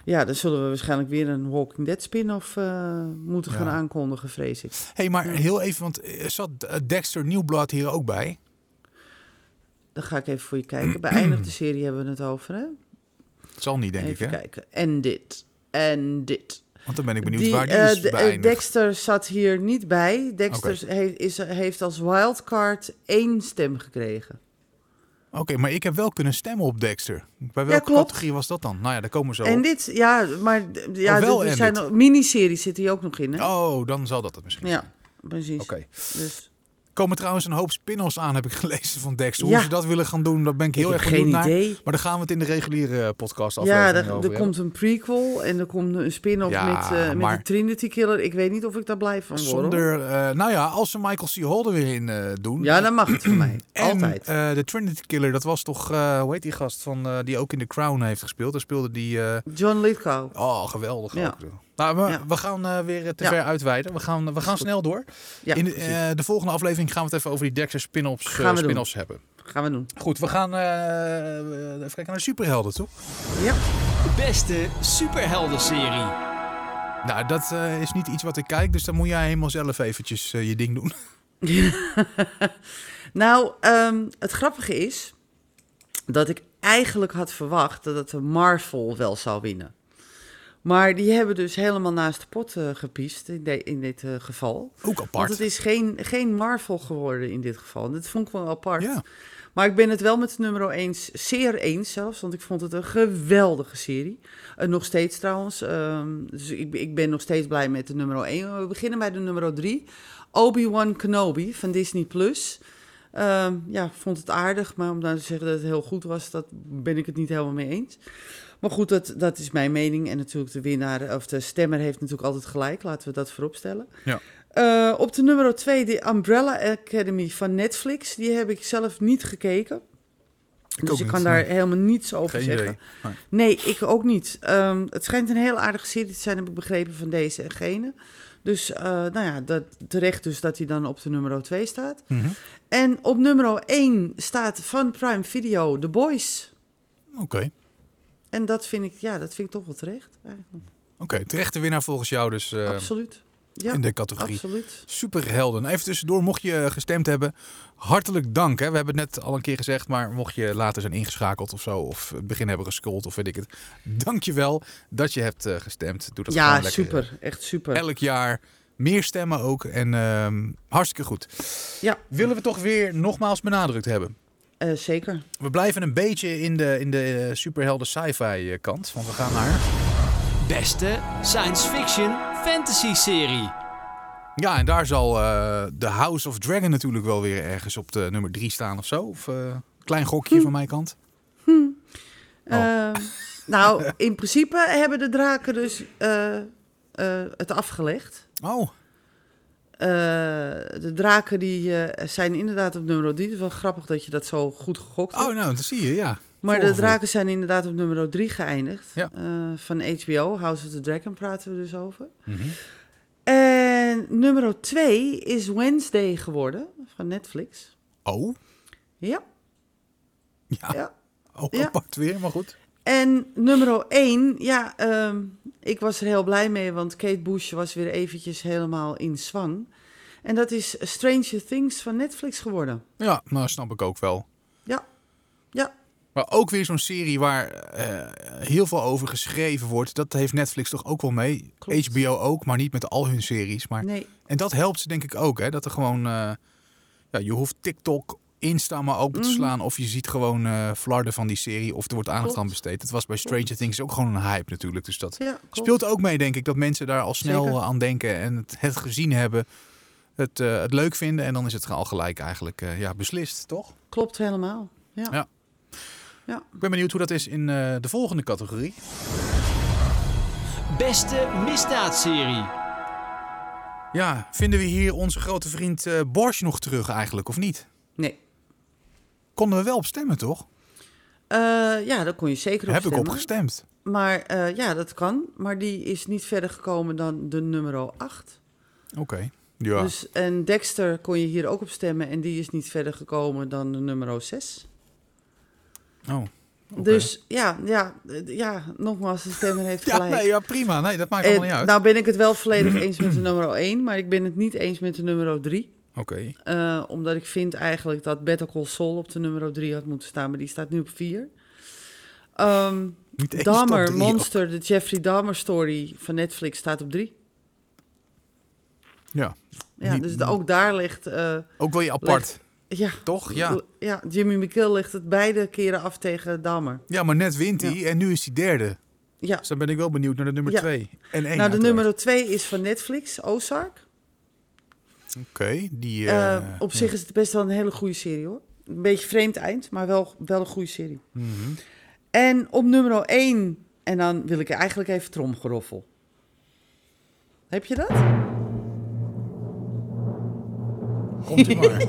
[SPEAKER 3] ja, dan zullen we waarschijnlijk weer een Walking Dead spin-off eh, moeten gaan
[SPEAKER 2] Ja.
[SPEAKER 3] aankondigen, vrees ik.
[SPEAKER 2] hey, maar heel even, want eh, zat eh, Dexter Nieuwblad hier ook bij?
[SPEAKER 3] Dan ga ik even voor je kijken. Bij eindig de serie hebben we het over, hè?
[SPEAKER 2] Dat zal niet, denk
[SPEAKER 3] even
[SPEAKER 2] ik, hè?
[SPEAKER 3] kijken. En dit. En dit.
[SPEAKER 2] Want dan ben ik benieuwd
[SPEAKER 3] Die,
[SPEAKER 2] waar die
[SPEAKER 3] eh,
[SPEAKER 2] is
[SPEAKER 3] de- eh,
[SPEAKER 2] bij.
[SPEAKER 3] Dexter zat hier niet bij. Dexter heeft, is, heeft als wildcard één stem gekregen.
[SPEAKER 2] Oké, maar ik heb wel kunnen stemmen op Dexter. Bij welke
[SPEAKER 3] klopt.
[SPEAKER 2] categorie was dat dan? Nou ja, daar komen we zo
[SPEAKER 3] En
[SPEAKER 2] op.
[SPEAKER 3] dit, ja, maar d- ja,
[SPEAKER 2] Oh, wel
[SPEAKER 3] er- er
[SPEAKER 2] en
[SPEAKER 3] zijn
[SPEAKER 2] dit.
[SPEAKER 3] nog, miniseries zit hier ook nog in, hè?
[SPEAKER 2] Oh, dan zal dat het misschien zijn.
[SPEAKER 3] Ja, precies.
[SPEAKER 2] Oké.
[SPEAKER 3] Dus.
[SPEAKER 2] Komen trouwens een hoop spin-offs aan, heb ik gelezen van Dexter.
[SPEAKER 3] Ja.
[SPEAKER 2] Hoe ze dat willen gaan doen, daar ben ik heel
[SPEAKER 3] ik
[SPEAKER 2] erg
[SPEAKER 3] heb geen
[SPEAKER 2] benieuwd naar.
[SPEAKER 3] idee.
[SPEAKER 2] Maar daar gaan we het in de reguliere eh, podcast
[SPEAKER 3] Ja,
[SPEAKER 2] aflevering
[SPEAKER 3] er, er
[SPEAKER 2] over hebben.
[SPEAKER 3] komt een prequel en er komt een spin-off
[SPEAKER 2] Ja,
[SPEAKER 3] met, eh met
[SPEAKER 2] maar-
[SPEAKER 3] de Trinity Killer. Ik weet niet of ik daar blij van word. hoor.
[SPEAKER 2] Zonder, eh, nou ja, als ze Michael C. Hall er weer in eh, doen.
[SPEAKER 3] Ja, dan mag het voor mij.
[SPEAKER 2] En,
[SPEAKER 3] Altijd.
[SPEAKER 2] eh, de Trinity Killer, dat was toch, eh, hoe heet die gast van, eh, die ook in The Crown heeft gespeeld. Daar speelde die, eh,
[SPEAKER 3] John Lithgow.
[SPEAKER 2] oh geweldig
[SPEAKER 3] Ja.
[SPEAKER 2] ook. Nou, we,
[SPEAKER 3] Ja.
[SPEAKER 2] we gaan eh, weer te
[SPEAKER 3] Ja.
[SPEAKER 2] ver uitweiden. We gaan, we gaan snel door.
[SPEAKER 3] Ja,
[SPEAKER 2] in de,
[SPEAKER 3] precies.
[SPEAKER 2] eh, de volgende aflevering gaan we het even over die Dexter spin-offs, eh,
[SPEAKER 3] Gaan we doen.
[SPEAKER 2] spin-offs hebben.
[SPEAKER 3] Gaan we doen.
[SPEAKER 2] Goed, we gaan eh, eh, even kijken naar de superhelden, toch?
[SPEAKER 3] Ja.
[SPEAKER 1] Beste superheldenserie.
[SPEAKER 2] Nou, dat eh, is niet iets wat ik kijk, dus dan moet jij helemaal zelf eventjes eh, je ding doen.
[SPEAKER 3] Nou, ehm, het grappige is dat ik eigenlijk had verwacht dat het de Marvel wel zou winnen. Maar die hebben dus helemaal naast de pot eh, gepiest in, de- in dit eh, geval.
[SPEAKER 2] Ook
[SPEAKER 3] Want
[SPEAKER 2] apart.
[SPEAKER 3] het is geen, geen Marvel geworden in dit geval. En Dat vond ik wel apart.
[SPEAKER 2] Ja.
[SPEAKER 3] Maar ik ben het wel met nummer 1 zeer eens zelfs. Want ik vond het een geweldige serie. Eh, nog steeds trouwens. ehm, dus ik, ik ben nog steeds blij met de nummer 1. We beginnen bij de nummer 3. Obi-Wan Kenobi van Disney+. Plus. Ehm, ja, vond het aardig. Maar om nou te zeggen dat het heel goed was, dat ben ik het niet helemaal mee eens. Maar goed, dat, dat is mijn mening. En natuurlijk de winnaar, of de stemmer heeft natuurlijk altijd gelijk. Laten we dat vooropstellen.
[SPEAKER 2] Ja.
[SPEAKER 3] Eh, op de nummer 2, de Umbrella Academy van Netflix. Die heb ik zelf niet gekeken. dus
[SPEAKER 2] ook
[SPEAKER 3] ik
[SPEAKER 2] niet,
[SPEAKER 3] kan daar
[SPEAKER 2] nee.
[SPEAKER 3] helemaal niets over
[SPEAKER 2] Geen
[SPEAKER 3] zeggen.
[SPEAKER 2] idee. Nee.
[SPEAKER 3] Nee, ik ook niet. Ehm, het schijnt een heel aardige serie te zijn, heb ik begrepen, van deze en gene. Dus eh, nou ja, dat, terecht dus dat hij dan op de nummer 2 staat.
[SPEAKER 2] Mhm.
[SPEAKER 3] En op nummer 1 staat van Prime Video The Boys.
[SPEAKER 2] Oké.
[SPEAKER 3] En dat vind ik, ja, dat vind ik toch wel terecht. eigenlijk.
[SPEAKER 2] Oké, terechte winnaar volgens jou dus eh,
[SPEAKER 3] absoluut. Ja,
[SPEAKER 2] in de categorie
[SPEAKER 3] absoluut.
[SPEAKER 2] superhelden. Nou, Even tussendoor, mocht je eh, gestemd hebben, hartelijk dank. Hè. We hebben het net al een keer gezegd, maar mocht je later zijn ingeschakeld of zo, of het begin hebben gescrollt of weet ik het. Dank je wel dat je hebt eh, gestemd. Doe dat
[SPEAKER 3] Ja,
[SPEAKER 2] gewoon lekker. eh,
[SPEAKER 3] super. Echt super.
[SPEAKER 2] Elk jaar meer stemmen ook en ehm, hartstikke goed.
[SPEAKER 3] Ja,
[SPEAKER 2] Willen we toch weer nogmaals benadrukt hebben.
[SPEAKER 3] eh, zeker.
[SPEAKER 2] We blijven een beetje in de, in de eh, superhelden sci-fi eh, kant, want we gaan naar...
[SPEAKER 1] Beste science fiction fantasy serie.
[SPEAKER 2] Ja, en daar zal eh The House of Dragon natuurlijk wel weer ergens op de nummer 3 staan of zo. Of eh, klein gokje
[SPEAKER 3] Hm.
[SPEAKER 2] van mijn kant. Oh.
[SPEAKER 3] Ehm, nou, in principe hebben de draken dus eh, eh, het afgelegd.
[SPEAKER 2] Oh,
[SPEAKER 3] Eh, de draken die, eh, zijn inderdaad op nummer 3. Het is wel grappig dat je dat zo goed gegokt hebt.
[SPEAKER 2] oh nou, dat zie je, ja.
[SPEAKER 3] maar de
[SPEAKER 2] voorgevoel.
[SPEAKER 3] draken zijn inderdaad op nummer 3 geëindigd.
[SPEAKER 2] Ja.
[SPEAKER 3] Eh, van HBO, House of the Dragon praten we dus over.
[SPEAKER 2] Mhm.
[SPEAKER 3] En nummer 2 is Wednesday geworden van Netflix.
[SPEAKER 2] Oh,
[SPEAKER 3] Ja,
[SPEAKER 2] ja.
[SPEAKER 3] ja.
[SPEAKER 2] Oh,
[SPEAKER 3] Ja.
[SPEAKER 2] apart weer, maar goed.
[SPEAKER 3] En nummer 1, ja, ehm, ik was er heel blij mee, want Kate Bush was weer eventjes helemaal in zwang. En dat is Stranger Things van Netflix geworden.
[SPEAKER 2] Ja, nou snap ik ook wel.
[SPEAKER 3] Ja, ja,
[SPEAKER 2] Maar ook weer zo'n serie waar eh, heel veel over geschreven wordt. Dat heeft Netflix toch ook wel mee.
[SPEAKER 3] Klopt.
[SPEAKER 2] HBO ook, maar niet met al hun series. Maar...
[SPEAKER 3] nee,
[SPEAKER 2] En dat helpt ze denk ik ook, hè. Dat er gewoon... eh, ja, je hoeft TikTok Insta maar open
[SPEAKER 3] Mhm.
[SPEAKER 2] te slaan. Of je ziet gewoon eh flarden van die serie. Of er wordt aandacht
[SPEAKER 3] Klopt.
[SPEAKER 2] aan besteed. Het was bij Stranger Things ook gewoon een hype natuurlijk. Dus dat
[SPEAKER 3] Ja, klopt.
[SPEAKER 2] speelt ook mee, denk ik. Dat mensen daar al snel
[SPEAKER 3] Zeker.
[SPEAKER 2] eh, aan denken. En het, het gezien hebben. Het, eh, het leuk vinden. En dan is het al gelijk eigenlijk eh, ja, beslist, toch?
[SPEAKER 3] Klopt helemaal. Ja.
[SPEAKER 2] Ja. Ik ben benieuwd hoe dat is in eh, de volgende categorie.
[SPEAKER 1] Beste misdaadserie.
[SPEAKER 2] Ja, vinden we hier onze grote vriend eh Borsch nog terug eigenlijk, of niet?
[SPEAKER 3] Nee.
[SPEAKER 2] Konden we wel op stemmen, toch?
[SPEAKER 3] Eh, ja, daar kon je zeker op
[SPEAKER 2] Heb ik
[SPEAKER 3] stemmen.
[SPEAKER 2] op gestemd.
[SPEAKER 3] Maar eh, ja, dat kan. Maar die is niet verder gekomen dan de nummer 8.
[SPEAKER 2] Oké. Ja.
[SPEAKER 3] Dus, en Dexter kon je hier ook op stemmen. En die is niet verder gekomen dan de nummer 6.
[SPEAKER 2] oh. oké.
[SPEAKER 3] Dus ja, ja, eh, ja, nogmaals, de stemmer heeft
[SPEAKER 2] Ja,
[SPEAKER 3] gelijk.
[SPEAKER 2] nee, ja, prima. Nee, dat maakt
[SPEAKER 3] En
[SPEAKER 2] allemaal niet uit.
[SPEAKER 3] nou ben ik het wel volledig eens met de nummer 1, maar ik ben het niet eens met de nummer 3.
[SPEAKER 2] Oké.
[SPEAKER 3] Eh, omdat ik vind eigenlijk dat Better Call Saul op de nummer 3 had moeten staan, maar die staat nu op 4. Ehm
[SPEAKER 2] Niet eens top
[SPEAKER 3] Dahmer,
[SPEAKER 2] drie,
[SPEAKER 3] Monster, de Jeffrey Dahmer story van Netflix staat op 3.
[SPEAKER 2] oh. Ja.
[SPEAKER 3] Ja,
[SPEAKER 2] Niet-
[SPEAKER 3] dus de- ook daar ligt... eh,
[SPEAKER 2] Ook wel je apart,
[SPEAKER 3] Ligt- ja,
[SPEAKER 2] toch? Ja.
[SPEAKER 3] l- ja, Jimmy McKill legt het beide keren af tegen Dahmer.
[SPEAKER 2] ja, maar net wint hij en nu is hij derde.
[SPEAKER 3] Ja.
[SPEAKER 2] Dus dan ben ik wel benieuwd naar de nummer
[SPEAKER 3] Ja.
[SPEAKER 2] twee. En één
[SPEAKER 3] Nou, de
[SPEAKER 2] uiteraard.
[SPEAKER 3] nummer 2 is van Netflix, Ozark.
[SPEAKER 2] Oké, die... eh,
[SPEAKER 3] Eh, op zich is het best wel een hele goede serie hoor. Een beetje vreemd eind, maar wel, wel een goede serie.
[SPEAKER 2] mhm.
[SPEAKER 3] En op nummer 1, en dan wil ik eigenlijk even tromgeroffel. Heb je dat?
[SPEAKER 2] Komt ie maar.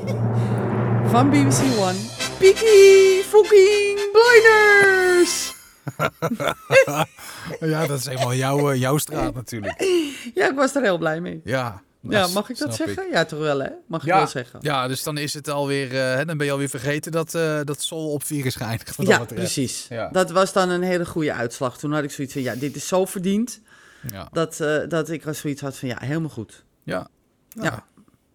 [SPEAKER 3] Van BBC One. Peaky fucking blinders!
[SPEAKER 2] ja, dat is helemaal jouw, eh, jouw straat natuurlijk.
[SPEAKER 3] Ja, ik was er heel blij mee.
[SPEAKER 2] Ja. nou,
[SPEAKER 3] Ja, mag ik dat
[SPEAKER 2] snap
[SPEAKER 3] zeggen? Ja, toch wel hè? Mag ik
[SPEAKER 2] Ja.
[SPEAKER 3] wel zeggen.
[SPEAKER 2] ja, dus dan is het alweer, eh, hè, dan ben je alweer vergeten dat, eh dat Sol op vier is geëindigd. wat dat
[SPEAKER 3] Ja,
[SPEAKER 2] betreft.
[SPEAKER 3] precies.
[SPEAKER 2] Ja.
[SPEAKER 3] Dat was dan een hele goede uitslag. Toen had ik zoiets van, ja, dit is zo verdiend.
[SPEAKER 2] Ja.
[SPEAKER 3] Dat, eh, dat ik als zoiets had van, ja, helemaal goed.
[SPEAKER 2] Ja. ja.
[SPEAKER 3] Ja.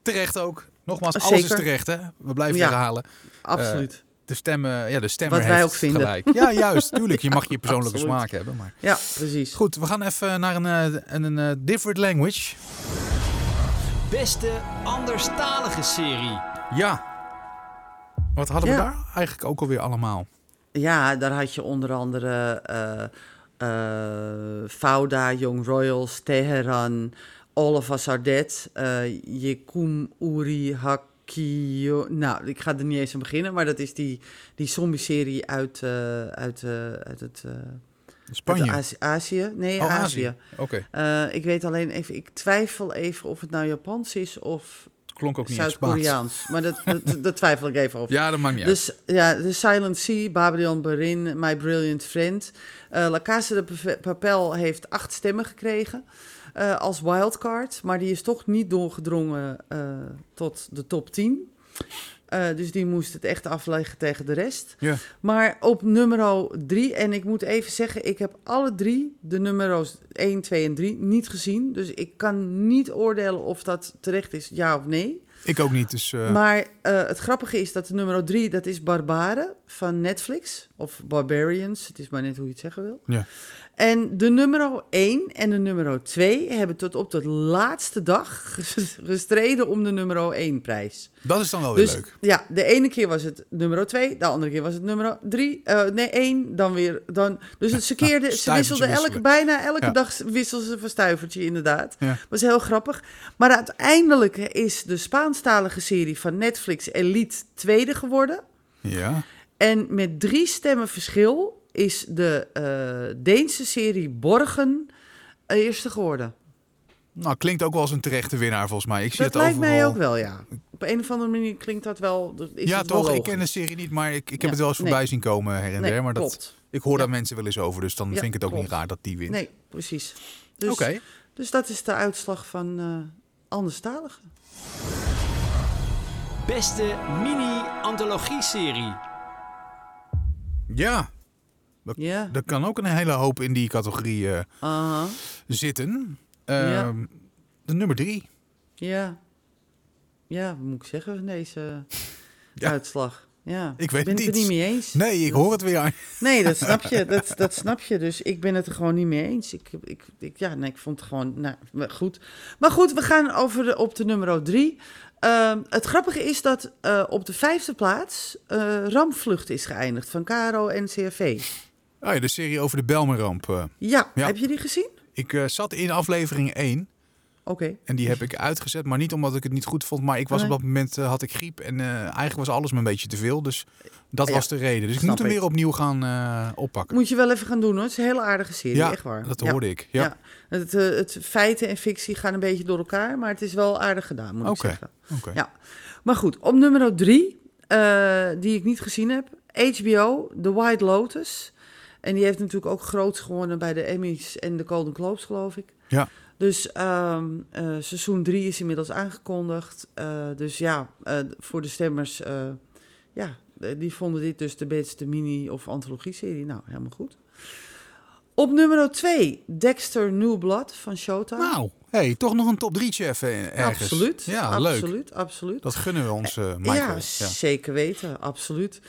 [SPEAKER 2] Terecht ook. Nogmaals, alles
[SPEAKER 3] Zeker.
[SPEAKER 2] is terecht, hè? We blijven
[SPEAKER 3] Ja.
[SPEAKER 2] herhalen.
[SPEAKER 3] Absoluut.
[SPEAKER 2] De stemmen, ja, de stemmer
[SPEAKER 3] Wat
[SPEAKER 2] heeft
[SPEAKER 3] wij ook vinden.
[SPEAKER 2] gelijk. Ja, juist. Tuurlijk, je mag je persoonlijke
[SPEAKER 3] Absoluut.
[SPEAKER 2] smaak hebben. Maar
[SPEAKER 3] ja, precies.
[SPEAKER 2] goed, we gaan even naar een, eh, een, een eh, different language.
[SPEAKER 1] Beste anderstalige serie.
[SPEAKER 2] Ja. Wat hadden we
[SPEAKER 3] Ja.
[SPEAKER 2] daar eigenlijk ook alweer allemaal?
[SPEAKER 3] Ja, daar had je onder andere eh eh, Fouda, Young Royals, Teheran, All of Us Are Dead, eh, Yekum Uri Hakio. Nou, ik ga er niet eens aan beginnen, maar dat is die, die zombie-serie uit, eh, uit, eh, uit het eh, uit
[SPEAKER 2] Spanje.
[SPEAKER 3] Azi- Azië. Nee,
[SPEAKER 2] Oh,
[SPEAKER 3] Azië.
[SPEAKER 2] Oké,
[SPEAKER 3] Eh, ik weet alleen even, ik twijfel even of het nou Japans is of
[SPEAKER 2] het klonk ook niet in het Spaans.
[SPEAKER 3] Zuid-Koreaans. Maar dat, dat, dat twijfel ik even over.
[SPEAKER 2] Ja, dat maakt niet uit.
[SPEAKER 3] Dus ja, The Silent Sea, Babylon Berin, My Brilliant Friend. Eh La Casa de Pave- Papel heeft acht stemmen gekregen eh, als wildcard. Maar die is toch niet doorgedrongen eh, tot de top 10. Eh, dus die moest het echt afleggen tegen de rest.
[SPEAKER 2] Ja.
[SPEAKER 3] Maar op nummer 3, en ik moet even zeggen, ik heb alle drie de nummers 1, 2 en 3 niet gezien. Dus ik kan niet oordelen of dat terecht is, ja of nee.
[SPEAKER 2] Ik ook niet, dus... eh,
[SPEAKER 3] Maar eh, het grappige is dat de nummer 3, dat is Barbaren van Netflix. Of Barbarians, het is maar net hoe je het zeggen wil.
[SPEAKER 2] Ja.
[SPEAKER 3] En de nummer 1 en de nummer 2 hebben tot op de laatste dag gestreden om de nummer 1 prijs.
[SPEAKER 2] Dat is dan wel weer
[SPEAKER 3] dus
[SPEAKER 2] leuk.
[SPEAKER 3] ja, de ene keer was het nummer 2, de andere keer was het nummer 3. nee, 1, dan weer. Dan, dus het, ze, keerden, ze
[SPEAKER 2] nou, Stuivertje
[SPEAKER 3] wisselden elke,
[SPEAKER 2] wisselen.
[SPEAKER 3] bijna elke
[SPEAKER 2] Ja.
[SPEAKER 3] dag wisselden ze van stuivertje, inderdaad.
[SPEAKER 2] Ja.
[SPEAKER 3] Was heel grappig. Maar uiteindelijk is de Spaanstalige serie van Netflix Elite tweede geworden.
[SPEAKER 2] Ja.
[SPEAKER 3] En met drie stemmen verschil is de eh, Deense serie Borgen eh, eerste geworden.
[SPEAKER 2] Nou, klinkt ook wel als een terechte winnaar volgens mij. Ik zie
[SPEAKER 3] Dat
[SPEAKER 2] het
[SPEAKER 3] lijkt mij
[SPEAKER 2] overal.
[SPEAKER 3] ook wel, ja. Op een of andere manier klinkt dat wel. Is
[SPEAKER 2] ja,
[SPEAKER 3] het wel
[SPEAKER 2] toch? Ik
[SPEAKER 3] logisch.
[SPEAKER 2] ken de serie niet, maar ik, ik heb
[SPEAKER 3] Ja,
[SPEAKER 2] het wel eens
[SPEAKER 3] nee.
[SPEAKER 2] voorbij zien komen her en
[SPEAKER 3] Nee,
[SPEAKER 2] der. Maar dat,
[SPEAKER 3] klopt.
[SPEAKER 2] ik hoor daar mensen wel eens over, dus dan
[SPEAKER 3] Ja,
[SPEAKER 2] vind ik het ook niet
[SPEAKER 3] klopt.
[SPEAKER 2] raar dat die wint.
[SPEAKER 3] Nee, precies. Dus,
[SPEAKER 2] Oké.
[SPEAKER 3] dus dat is de uitslag van eh anderstaligen.
[SPEAKER 1] Beste mini-antologie-serie.
[SPEAKER 2] Ja,
[SPEAKER 3] Ja.
[SPEAKER 2] er kan ook een hele hoop in die categorie eh,
[SPEAKER 3] Aha.
[SPEAKER 2] zitten.
[SPEAKER 3] Ja.
[SPEAKER 2] Ehm, De nummer drie.
[SPEAKER 3] Ja. Ja, wat moet ik zeggen van deze
[SPEAKER 2] Ja.
[SPEAKER 3] uitslag? Ja.
[SPEAKER 2] Ik weet
[SPEAKER 3] ben
[SPEAKER 2] het
[SPEAKER 3] het er
[SPEAKER 2] niet.
[SPEAKER 3] niet mee eens.
[SPEAKER 2] Nee, ik hoor het weer.
[SPEAKER 3] Nee, dat snap je. Dat, dat snap je. Dus ik ben het er gewoon niet mee eens. Ik, ik, ik, ja, nee, ik vond het gewoon nou, maar goed. Maar goed, we gaan over de, op de nummer drie. Eh, Ehm, het grappige is dat eh, op de vijfde plaats eh Ramvlucht is geëindigd van Caro NCRV.
[SPEAKER 2] Oh ja, de serie over de Belmeramp. eh.
[SPEAKER 3] Ja,
[SPEAKER 2] Ja.
[SPEAKER 3] heb je die gezien?
[SPEAKER 2] Ik eh, zat in aflevering 1
[SPEAKER 3] Oké.
[SPEAKER 2] en die heb ik uitgezet. Maar niet omdat ik het niet goed vond, maar ik was
[SPEAKER 3] Nee.
[SPEAKER 2] op dat moment eh, had ik griep. En eh, eigenlijk was alles me een beetje te veel. Dus dat
[SPEAKER 3] Ja,
[SPEAKER 2] was de reden. Dus ik
[SPEAKER 3] snap
[SPEAKER 2] moet hem
[SPEAKER 3] ik.
[SPEAKER 2] weer opnieuw gaan eh, oppakken.
[SPEAKER 3] Moet je wel even gaan doen hoor. Het is een hele aardige serie,
[SPEAKER 2] ja,
[SPEAKER 3] echt waar.
[SPEAKER 2] dat
[SPEAKER 3] Ja.
[SPEAKER 2] hoorde ik. Ja.
[SPEAKER 3] Ja. Het, eh, het feiten en fictie gaan een beetje door elkaar, maar het is wel aardig gedaan, moet
[SPEAKER 2] Oké.
[SPEAKER 3] ik zeggen.
[SPEAKER 2] Oké.
[SPEAKER 3] Ja. Maar goed, op nummer drie, eh, die ik niet gezien heb, HBO, The White Lotus. En die heeft natuurlijk ook groot gewonnen bij de Emmys en de Golden Globes, geloof ik.
[SPEAKER 2] Ja.
[SPEAKER 3] Dus ehm, eh, seizoen drie is inmiddels aangekondigd. Eh, dus ja, eh, voor de stemmers, eh, ja, die vonden dit dus de beste mini- of antologie-serie. Nou, helemaal goed. Op nummer 2, Dexter New Blood van Showtime.
[SPEAKER 2] Nou, hey, toch nog een top 3 chef eh, ergens.
[SPEAKER 3] absoluut.
[SPEAKER 2] Ja, leuk.
[SPEAKER 3] absoluut, absoluut.
[SPEAKER 2] Dat gunnen we ons, eh Michael.
[SPEAKER 3] Ja,
[SPEAKER 2] Ja,
[SPEAKER 3] zeker weten, absoluut.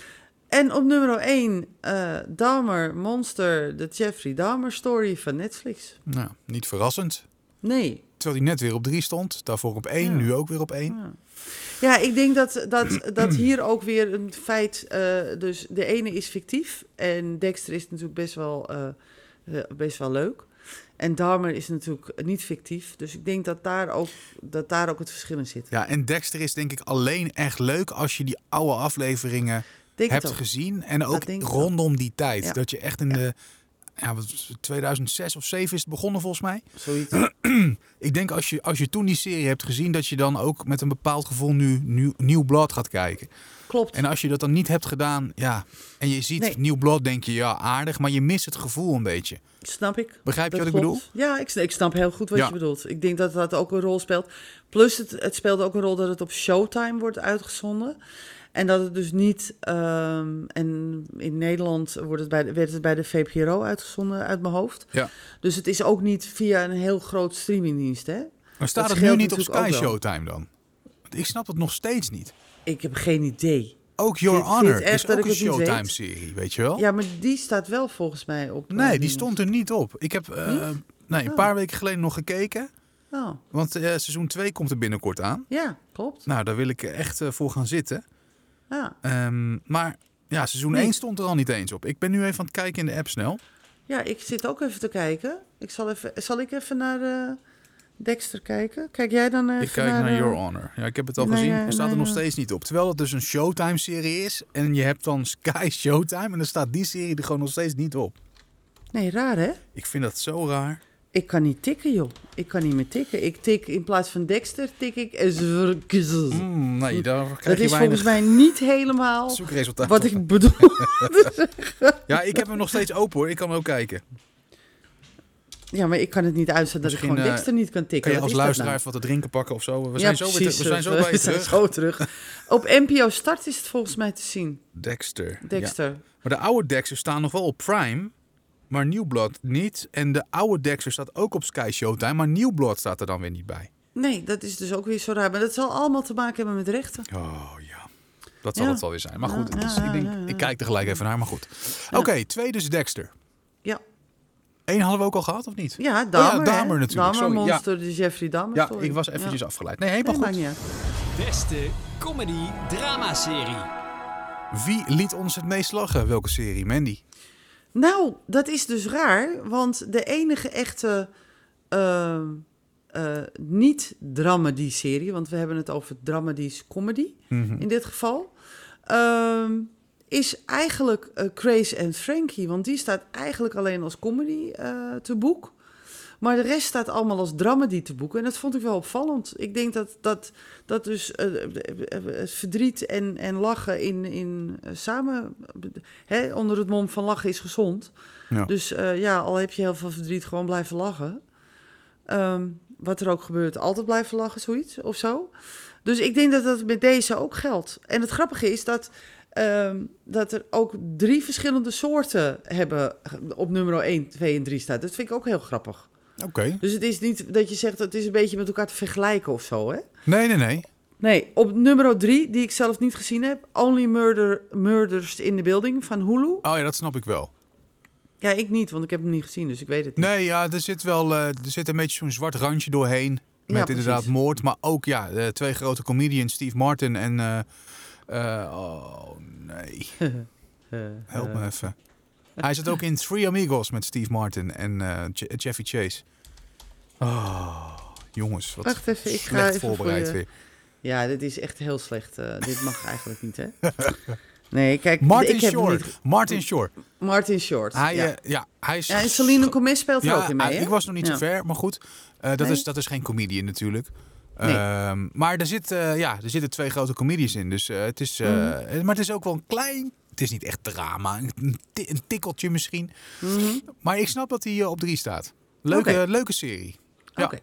[SPEAKER 3] En op nummer 1, eh Dahmer Monster, de Jeffrey Dahmer story van Netflix.
[SPEAKER 2] Nou, niet verrassend.
[SPEAKER 3] Nee.
[SPEAKER 2] Terwijl hij net weer op 3 stond, daarvoor op 1,
[SPEAKER 3] Ja.
[SPEAKER 2] nu ook weer op 1.
[SPEAKER 3] Ja, ik denk dat, dat, dat hier ook weer een feit... eh, dus de ene is fictief en Dexter is natuurlijk best wel, eh, eh, best wel leuk. En Dahmer is natuurlijk niet fictief. Dus ik denk dat daar ook, dat daar ook het verschil in zit.
[SPEAKER 2] Ja, en Dexter is denk ik alleen echt leuk als je die oude afleveringen
[SPEAKER 3] Ik Denk
[SPEAKER 2] hebt
[SPEAKER 3] het ook.
[SPEAKER 2] gezien. En ook
[SPEAKER 3] denk ik ook.
[SPEAKER 2] rondom die tijd.
[SPEAKER 3] Ja.
[SPEAKER 2] Dat je echt in de ja, wat was het, 2006 of 2007 is het begonnen volgens mij.
[SPEAKER 3] Zoiets.
[SPEAKER 2] Ik denk als je, als je toen die serie hebt gezien, dat je dan ook met een bepaald gevoel nu, nu nieuw blad gaat kijken.
[SPEAKER 3] Klopt.
[SPEAKER 2] En als je dat dan niet hebt gedaan, ja, en je ziet
[SPEAKER 3] Nee.
[SPEAKER 2] nieuw blad, denk je ja, aardig, maar je mist het gevoel een beetje.
[SPEAKER 3] Snap ik.
[SPEAKER 2] Begrijp je
[SPEAKER 3] Dat
[SPEAKER 2] wat ik
[SPEAKER 3] klopt. Ja, ik, sn- ik snap heel goed wat
[SPEAKER 2] Ja.
[SPEAKER 3] je bedoelt. Ik denk dat dat ook een rol speelt. Plus, het, het speelt ook een rol dat het op Showtime wordt uitgezonden. En dat het dus niet... ehm, en in Nederland wordt het bij, de- werd het bij de VPRO uitgezonden uit mijn hoofd.
[SPEAKER 2] Ja.
[SPEAKER 3] Dus het is ook niet via een heel groot streamingdienst, hè?
[SPEAKER 2] Maar staat het
[SPEAKER 3] Dat
[SPEAKER 2] nu
[SPEAKER 3] scheelt
[SPEAKER 2] niet op Sky
[SPEAKER 3] natuurlijk ook wel.
[SPEAKER 2] Showtime dan? Want ik snap het nog steeds niet.
[SPEAKER 3] Ik heb geen idee.
[SPEAKER 2] Ook Your
[SPEAKER 3] vind-
[SPEAKER 2] Honor
[SPEAKER 3] vind echt
[SPEAKER 2] is
[SPEAKER 3] dat ik
[SPEAKER 2] ook een
[SPEAKER 3] het niet weet.
[SPEAKER 2] Showtime-serie, weet je wel?
[SPEAKER 3] Ja, maar die staat wel volgens mij op... eh,
[SPEAKER 2] Oh. Nee, die
[SPEAKER 3] dingen.
[SPEAKER 2] stond er niet op. Ik heb eh, nee, een paar weken geleden nog gekeken.
[SPEAKER 3] Oh,
[SPEAKER 2] Want eh, seizoen 2 komt er binnenkort aan.
[SPEAKER 3] ja, klopt.
[SPEAKER 2] Nou, daar wil ik echt eh, voor gaan zitten.
[SPEAKER 3] Ja.
[SPEAKER 2] Ehm, maar ja, seizoen
[SPEAKER 3] Nee.
[SPEAKER 2] 1 stond er al niet eens op. Ik ben nu even aan het kijken in de app snel.
[SPEAKER 3] Ja, ik zit ook even te kijken. Ik zal, even, zal ik even naar eh, Dexter kijken? Kijk jij dan even
[SPEAKER 2] ik kijk naar,
[SPEAKER 3] eh,
[SPEAKER 2] Your Honor. Ja, ik heb het al
[SPEAKER 3] nee,
[SPEAKER 2] gezien.
[SPEAKER 3] nee,
[SPEAKER 2] Er staat er
[SPEAKER 3] nee, eh.
[SPEAKER 2] nog
[SPEAKER 3] nee.
[SPEAKER 2] steeds niet op. Terwijl het dus een Showtime-serie is. En je hebt dan Sky Showtime. En dan staat die serie er gewoon nog steeds niet op.
[SPEAKER 3] Nee, raar hè?
[SPEAKER 2] Ik vind dat zo raar.
[SPEAKER 3] Ik kan niet tikken, joh. Ik kan niet meer tikken. Ik tik in plaats van Dexter, tik ik... Zwrkzz.
[SPEAKER 2] Mm, nee, daar krijg
[SPEAKER 3] Dat
[SPEAKER 2] je
[SPEAKER 3] is
[SPEAKER 2] weinig
[SPEAKER 3] volgens mij niet helemaal
[SPEAKER 2] zoekresultaat.
[SPEAKER 3] wat ik bedoel.
[SPEAKER 2] Ja, ik heb hem nog steeds open hoor. Ik kan hem ook kijken.
[SPEAKER 3] Ja, maar ik kan het niet uitzetten dat
[SPEAKER 2] Misschien,
[SPEAKER 3] ik gewoon
[SPEAKER 2] eh,
[SPEAKER 3] Dexter niet kan tikken.
[SPEAKER 2] Kun je
[SPEAKER 3] Wat
[SPEAKER 2] als
[SPEAKER 3] is dat
[SPEAKER 2] luisteraar
[SPEAKER 3] nou?
[SPEAKER 2] even wat te drinken pakken of zo? We
[SPEAKER 3] Ja,
[SPEAKER 2] zijn, zo, weer te-
[SPEAKER 3] precies,
[SPEAKER 2] we zijn zo
[SPEAKER 3] eh,
[SPEAKER 2] bij je
[SPEAKER 3] we zijn
[SPEAKER 2] terug.
[SPEAKER 3] zo terug. Op NPO Start is het volgens mij te zien,
[SPEAKER 2] Dexter. Ja.
[SPEAKER 3] Dexter.
[SPEAKER 2] Maar de oude Dexter staan nog wel op Prime, maar New Blood niet. En de oude Dexter staat ook op Sky Showtime, maar New Blood staat er dan weer niet bij.
[SPEAKER 3] Nee, dat is dus ook weer zo raar. Maar dat zal allemaal te maken hebben met rechten.
[SPEAKER 2] Oh ja. Dat zal
[SPEAKER 3] Ja.
[SPEAKER 2] het wel weer zijn. Maar goed,
[SPEAKER 3] Ja,
[SPEAKER 2] het is-
[SPEAKER 3] ja,
[SPEAKER 2] ik, denk,
[SPEAKER 3] ja, ja.
[SPEAKER 2] ik kijk er gelijk even naar, maar goed. Oké, twee dus Dexter.
[SPEAKER 3] Ja,
[SPEAKER 2] Eén hadden we ook al gehad, of niet? Oh
[SPEAKER 3] Ja, Dahmer. hè?
[SPEAKER 2] Dahmer natuurlijk,
[SPEAKER 3] Dahmer,
[SPEAKER 2] sorry, ja.
[SPEAKER 3] Monster, de Jeffrey Dahmer.
[SPEAKER 2] Ja,
[SPEAKER 3] story.
[SPEAKER 2] ik was eventjes afgeleid. Nee, helemaal
[SPEAKER 3] Nee, maakt
[SPEAKER 2] goed.
[SPEAKER 3] niet uit.
[SPEAKER 1] Beste comedy dramaserie.
[SPEAKER 2] Wie liet ons het meest lachen? Welke serie? Mandy?
[SPEAKER 3] Nou, dat is dus raar, want de enige echte ehm, eh, niet-dramedy-serie, want we hebben het over dramedies comedy
[SPEAKER 2] Mhm.
[SPEAKER 3] in dit geval, ehm, is eigenlijk eh, Grace and Frankie, want die staat eigenlijk alleen als comedy eh, te boek. Maar de rest staat allemaal als dramedy te boeken. En dat vond ik wel opvallend. Ik denk dat, dat, dat dus eh, eh, eh, eh, verdriet en, en lachen in, in eh, samen... Hè, onder het mom van lachen is gezond.
[SPEAKER 2] Ja.
[SPEAKER 3] Dus eh, ja, al heb je heel veel verdriet, gewoon blijven lachen. Ehm, wat er ook gebeurt, altijd blijven lachen, zoiets of zo. Dus ik denk dat dat met deze ook geldt. En het grappige is dat, ehm, dat er ook drie verschillende soorten hebben op nummer 1, 2 en 3 staat. Dat vind ik ook heel grappig.
[SPEAKER 2] Oké.
[SPEAKER 3] Dus het is niet dat je zegt, het is een beetje met elkaar te vergelijken of zo, hè?
[SPEAKER 2] Nee, nee, nee.
[SPEAKER 3] Nee, op nummer 3, die ik zelf niet gezien heb, Only Murder, Murders in the Building van Hulu.
[SPEAKER 2] Oh ja, dat snap ik wel.
[SPEAKER 3] Ja, ik niet, want ik heb hem niet gezien, dus ik weet het niet.
[SPEAKER 2] Nee, ja, er zit wel eh, er zit een beetje zo'n zwart randje doorheen.
[SPEAKER 3] Ja,
[SPEAKER 2] Met
[SPEAKER 3] precies.
[SPEAKER 2] inderdaad moord, maar ook ja, de twee grote comedians, Steve Martin en... eh, eh, oh nee, help me even. Hij zit ook in Three Amigos met Steve Martin en eh, Je- Chevy Chase. Oh, jongens, wat
[SPEAKER 3] Wacht even, ik ga
[SPEAKER 2] slecht
[SPEAKER 3] even
[SPEAKER 2] voorbereid
[SPEAKER 3] voor je-
[SPEAKER 2] weer.
[SPEAKER 3] Ja, dit is echt heel slecht. eh, dit mag eigenlijk niet, hè? Nee, kijk,
[SPEAKER 2] Martin
[SPEAKER 3] ik heb
[SPEAKER 2] Short,
[SPEAKER 3] niet...
[SPEAKER 2] Martin Short.
[SPEAKER 3] Martin Short.
[SPEAKER 2] Hij, eh,
[SPEAKER 3] ja.
[SPEAKER 2] ja. ja, hij is...
[SPEAKER 3] ja, en Celine Gomez speelt er ook in mee,
[SPEAKER 2] ah,
[SPEAKER 3] hè?
[SPEAKER 2] ik was nog niet
[SPEAKER 3] Ja.
[SPEAKER 2] zo ver, maar goed. Eh, dat,
[SPEAKER 3] Nee?
[SPEAKER 2] is, dat is geen comedian natuurlijk.
[SPEAKER 3] Nee.
[SPEAKER 2] Ehm, maar er, zit, eh, ja, er zitten twee grote comedies in. Dus eh, het is, eh,
[SPEAKER 3] Mhm.
[SPEAKER 2] Maar het is ook wel een klein... Het is niet echt drama. Een, ti- een tikkeltje misschien. Maar ik snap dat hij eh, op drie staat. Leuke,
[SPEAKER 3] Mhm. Oké.
[SPEAKER 2] leuke serie.
[SPEAKER 3] Oké.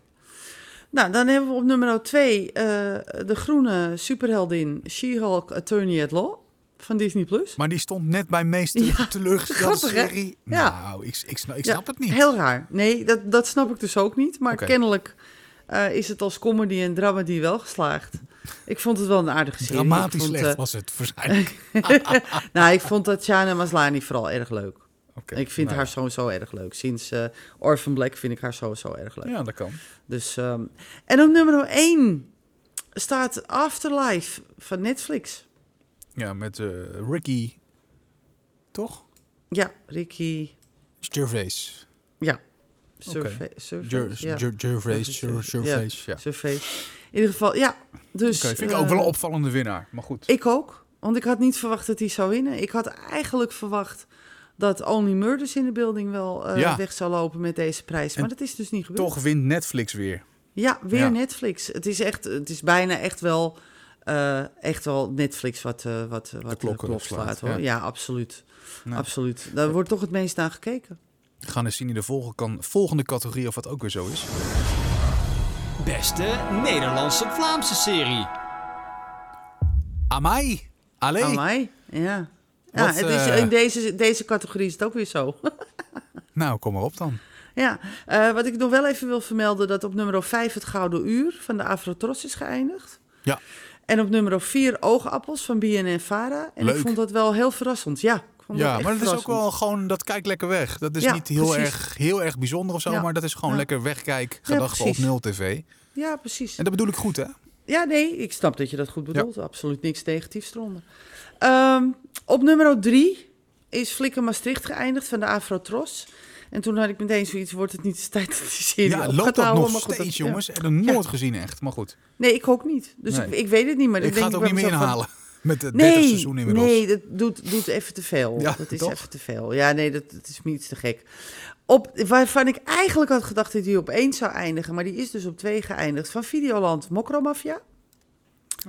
[SPEAKER 3] Nou, dan hebben we op nummer 2 de groene superheldin She-Hulk Attorney at Law van Disney+. Plus.
[SPEAKER 2] Maar die stond net bij meest te-
[SPEAKER 3] Ja,
[SPEAKER 2] teleurgestelde
[SPEAKER 3] grappig, hè?
[SPEAKER 2] serie.
[SPEAKER 3] Ja.
[SPEAKER 2] Nou, ik, ik, snap, ik snap het niet.
[SPEAKER 3] Heel raar. Nee, dat, dat snap ik dus ook niet. Maar
[SPEAKER 2] Oké.
[SPEAKER 3] kennelijk eh, is het als comedy en dramedy wel geslaagd. Ik vond het wel een aardige serie. Ik
[SPEAKER 2] Dramatisch
[SPEAKER 3] vond,
[SPEAKER 2] slecht
[SPEAKER 3] eh,
[SPEAKER 2] was het waarschijnlijk.
[SPEAKER 3] nou, ik vond Tatjana Maslany vooral erg leuk.
[SPEAKER 2] Oké,
[SPEAKER 3] Ik vind
[SPEAKER 2] nou
[SPEAKER 3] haar sowieso erg leuk. Sinds eh, Orphan Black vind ik haar sowieso erg leuk.
[SPEAKER 2] ja. Ja, dat kan.
[SPEAKER 3] Dus, ehm, en op nummer 1 staat Afterlife van Netflix.
[SPEAKER 2] Ja, met eh, Ricky... Toch?
[SPEAKER 3] Ja, Ricky.
[SPEAKER 2] Gervais.
[SPEAKER 3] Ja. Survey.
[SPEAKER 2] Ger-
[SPEAKER 3] Surface.
[SPEAKER 2] Ger- Gervais, Ger- Gervais, ja.
[SPEAKER 3] In ieder geval, ja. Dus,
[SPEAKER 2] Oké, vind ik ook
[SPEAKER 3] eh,
[SPEAKER 2] wel een opvallende winnaar, maar goed.
[SPEAKER 3] Ik ook. Want ik had niet verwacht dat hij zou winnen. Ik had eigenlijk verwacht dat Only Murders in de Building wel eh,
[SPEAKER 2] Ja.
[SPEAKER 3] weg zou lopen met deze prijs. Maar dat is dus niet gebeurd.
[SPEAKER 2] Toch wint Netflix weer.
[SPEAKER 3] Ja, weer
[SPEAKER 2] Ja.
[SPEAKER 3] Netflix. Het is, echt, het is bijna echt wel, eh, echt wel Netflix wat, eh, wat, wat de
[SPEAKER 2] klokken
[SPEAKER 3] klok
[SPEAKER 2] slaat,
[SPEAKER 3] slaat. Hoor. Ja.
[SPEAKER 2] ja.
[SPEAKER 3] absoluut.
[SPEAKER 2] Nou.
[SPEAKER 3] absoluut. Daar wordt toch het meest naar gekeken.
[SPEAKER 2] We gaan eens zien in de volgende, kan, volgende categorie of wat ook weer zo is.
[SPEAKER 1] Beste Nederlandse Vlaamse serie.
[SPEAKER 2] Amai! Allee!
[SPEAKER 3] Aan mij? Ja. Ja,
[SPEAKER 2] Wat,
[SPEAKER 3] het is,
[SPEAKER 2] eh,
[SPEAKER 3] in deze, deze categorie is het ook weer zo.
[SPEAKER 2] Nou, kom maar op dan.
[SPEAKER 3] ja, eh, wat ik nog wel even wil vermelden... dat op nummer 5 het Gouden Uur van de Afrotros is geëindigd.
[SPEAKER 2] Ja,
[SPEAKER 3] En op nummer 4 Oogappels van BNN-Vara. En
[SPEAKER 2] Leuk.
[SPEAKER 3] ik vond dat wel heel verrassend. Ja, ik vond
[SPEAKER 2] ja
[SPEAKER 3] echt
[SPEAKER 2] maar dat is ook
[SPEAKER 3] verrassend.
[SPEAKER 2] wel gewoon, dat kijkt lekker weg. Dat is
[SPEAKER 3] Ja,
[SPEAKER 2] niet heel
[SPEAKER 3] precies.
[SPEAKER 2] erg, heel erg bijzonder of zo,
[SPEAKER 3] Ja.
[SPEAKER 2] maar dat is gewoon
[SPEAKER 3] Ja.
[SPEAKER 2] lekker wegkijk, gedachten op
[SPEAKER 3] precies.
[SPEAKER 2] nul tv.
[SPEAKER 3] Ja, precies.
[SPEAKER 2] En dat bedoel ik goed, hè?
[SPEAKER 3] Ja, nee, ik snap dat je dat goed bedoelt. Absoluut niks negatiefs eronder. Ehm, op nummer 3 is Flikker Maastricht geëindigd van de Afrotros. En toen had ik meteen zoiets, wordt het niet eens tijd dat die serie
[SPEAKER 2] Ja,
[SPEAKER 3] op
[SPEAKER 2] loopt
[SPEAKER 3] gaat
[SPEAKER 2] dat
[SPEAKER 3] houden?
[SPEAKER 2] nog
[SPEAKER 3] Maar goed, dat-
[SPEAKER 2] steeds,
[SPEAKER 3] ja.
[SPEAKER 2] jongens? Ik heb het nooit gezien echt, maar goed.
[SPEAKER 3] Nee, ik ook niet. Dus
[SPEAKER 2] Nee.
[SPEAKER 3] ik, ik weet het niet, maar
[SPEAKER 2] Ik
[SPEAKER 3] dan
[SPEAKER 2] ga
[SPEAKER 3] denk
[SPEAKER 2] het ook
[SPEAKER 3] bij
[SPEAKER 2] niet meer
[SPEAKER 3] mezelf van,
[SPEAKER 2] inhalen met het 30
[SPEAKER 3] Nee,
[SPEAKER 2] seizoen inmiddels.
[SPEAKER 3] nee, dat doet, doet even te veel.
[SPEAKER 2] Ja,
[SPEAKER 3] dat is
[SPEAKER 2] toch?
[SPEAKER 3] even te veel. Ja, nee, dat, dat is me iets te gek. Op, waarvan ik eigenlijk had gedacht dat die op één zou eindigen, maar die is dus op twee geëindigd. Van Videoland, Mokromafia.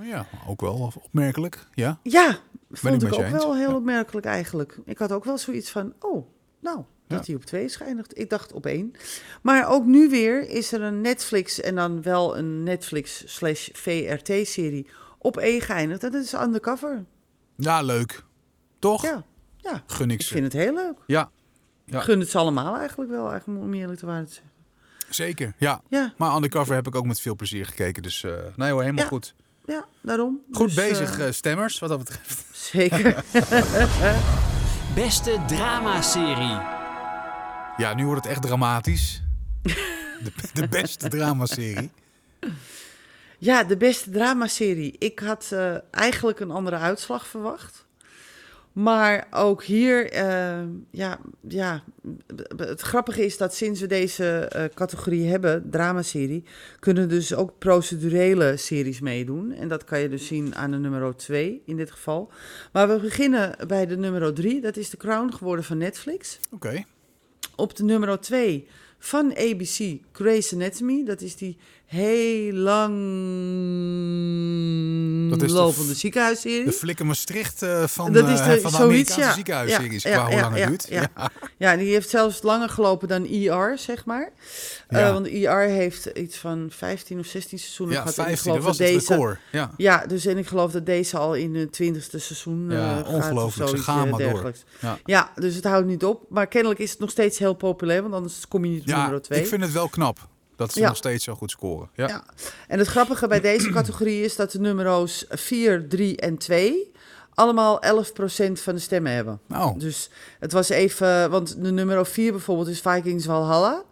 [SPEAKER 2] Ja, ook wel opmerkelijk, ja.
[SPEAKER 3] Ja, vond
[SPEAKER 2] met
[SPEAKER 3] ik
[SPEAKER 2] je eens.
[SPEAKER 3] ook wel heel
[SPEAKER 2] Ja.
[SPEAKER 3] opmerkelijk eigenlijk. Ik had ook wel zoiets van, oh, nou, dat
[SPEAKER 2] Ja.
[SPEAKER 3] hij op twee is geëindigd. Ik dacht op één. Maar ook nu weer is er een Netflix en dan wel een Netflix slash VRT-serie op één geëindigd. En dat is Undercover.
[SPEAKER 2] Ja, leuk. Toch?
[SPEAKER 3] Ja, ja.
[SPEAKER 2] Gun ik
[SPEAKER 3] Ik
[SPEAKER 2] ze.
[SPEAKER 3] vind het heel leuk.
[SPEAKER 2] Ja, Ja.
[SPEAKER 3] Gun het ze allemaal eigenlijk wel, eigenlijk, om eerlijk te waren te zeggen.
[SPEAKER 2] zeker. Ja.
[SPEAKER 3] Ja,
[SPEAKER 2] Maar Undercover heb ik ook met veel plezier gekeken. Dus eh nee hoor, helemaal
[SPEAKER 3] Ja.
[SPEAKER 2] goed.
[SPEAKER 3] ja, daarom.
[SPEAKER 2] Goed
[SPEAKER 3] Dus,
[SPEAKER 2] bezig,
[SPEAKER 3] eh,
[SPEAKER 2] eh, stemmers, wat dat betreft.
[SPEAKER 3] zeker.
[SPEAKER 1] Beste dramaserie.
[SPEAKER 2] Ja, nu wordt het echt dramatisch. De, de beste dramaserie.
[SPEAKER 3] Ja, de beste dramaserie. Ik had eh, eigenlijk een andere uitslag verwacht. Maar ook hier, eh, ja, ja, b- b- het grappige is dat sinds we deze eh, categorie hebben, dramaserie, kunnen dus ook procedurele series meedoen. En dat kan je dus zien aan de nummer 2 in dit geval. Maar we beginnen bij de nummer 3, dat is The Crown geworden van Netflix.
[SPEAKER 2] Oké.
[SPEAKER 3] Op de nummer 2 van ABC, Grey's Anatomy. Dat is die heel lang
[SPEAKER 2] Dat is de
[SPEAKER 3] lopende
[SPEAKER 2] f-
[SPEAKER 3] ziekenhuisserie.
[SPEAKER 2] De flikker Maastricht eh, van,
[SPEAKER 3] Dat
[SPEAKER 2] eh,
[SPEAKER 3] is de-
[SPEAKER 2] van de
[SPEAKER 3] zoiets,
[SPEAKER 2] Amerikaanse
[SPEAKER 3] ja.
[SPEAKER 2] ziekenhuisseries.
[SPEAKER 3] Ja,
[SPEAKER 2] qua
[SPEAKER 3] ja,
[SPEAKER 2] hoe lang
[SPEAKER 3] ja,
[SPEAKER 2] het
[SPEAKER 3] ja,
[SPEAKER 2] duurt.
[SPEAKER 3] ja. ja, die heeft zelfs langer gelopen dan ER, zeg maar. Eh,
[SPEAKER 2] Ja.
[SPEAKER 3] want ER heeft iets van 15 of 16 seizoenen
[SPEAKER 2] Ja,
[SPEAKER 3] gehad. en ik
[SPEAKER 2] 15,
[SPEAKER 3] geloof
[SPEAKER 2] dat was
[SPEAKER 3] dat
[SPEAKER 2] het
[SPEAKER 3] deze,
[SPEAKER 2] record. Ja.
[SPEAKER 3] Ja, dus en ik geloof dat deze al in het twintigste seizoen eh,
[SPEAKER 2] Ja,
[SPEAKER 3] gaat. of
[SPEAKER 2] ongelooflijk. Ze
[SPEAKER 3] zoiets,
[SPEAKER 2] gaan
[SPEAKER 3] eh,
[SPEAKER 2] maar door.
[SPEAKER 3] dergelijks.
[SPEAKER 2] Ja.
[SPEAKER 3] Ja. dus het houdt niet op. Maar kennelijk is het nog steeds heel populair, want anders kom je niet op
[SPEAKER 2] ja,
[SPEAKER 3] nummer 2.
[SPEAKER 2] ik vind het wel knap dat ze
[SPEAKER 3] Ja.
[SPEAKER 2] nog steeds zo goed scoren. Ja.
[SPEAKER 3] Ja. En het grappige bij deze categorie is dat de numero's 4, 3 en 2 allemaal 11% van de stemmen hebben.
[SPEAKER 2] Nou,
[SPEAKER 3] Dus het was even, want de nummer 4 bijvoorbeeld is Vikings Valhalla.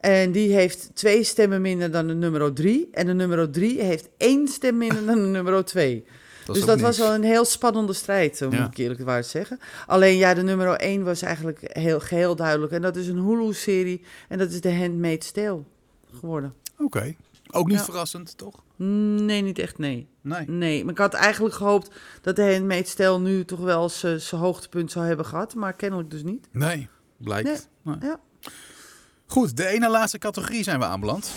[SPEAKER 3] En die heeft twee stemmen minder dan de nummer drie. En de nummer drie heeft één stem minder dan de nummer twee.
[SPEAKER 2] Dat is
[SPEAKER 3] dus
[SPEAKER 2] ook
[SPEAKER 3] dat
[SPEAKER 2] niks.
[SPEAKER 3] was wel een heel spannende strijd, eh, moet
[SPEAKER 2] Ja.
[SPEAKER 3] ik eerlijk waar zeggen. Alleen ja, de nummer 1 was eigenlijk heel geheel duidelijk. En dat is een Hulu-serie en dat is The Handmaid's Tale geworden.
[SPEAKER 2] Oké. Ook niet
[SPEAKER 3] Ja.
[SPEAKER 2] verrassend, toch?
[SPEAKER 3] Nee, niet echt, nee.
[SPEAKER 2] Nee.
[SPEAKER 3] Nee, maar ik had eigenlijk gehoopt dat The Handmaid's Tale nu toch wel zijn zijn hoogtepunt zou hebben gehad. Maar kennelijk dus niet.
[SPEAKER 2] Nee, blijkt. Nee.
[SPEAKER 3] Ja.
[SPEAKER 2] Goed, de ene laatste categorie zijn we aanbeland.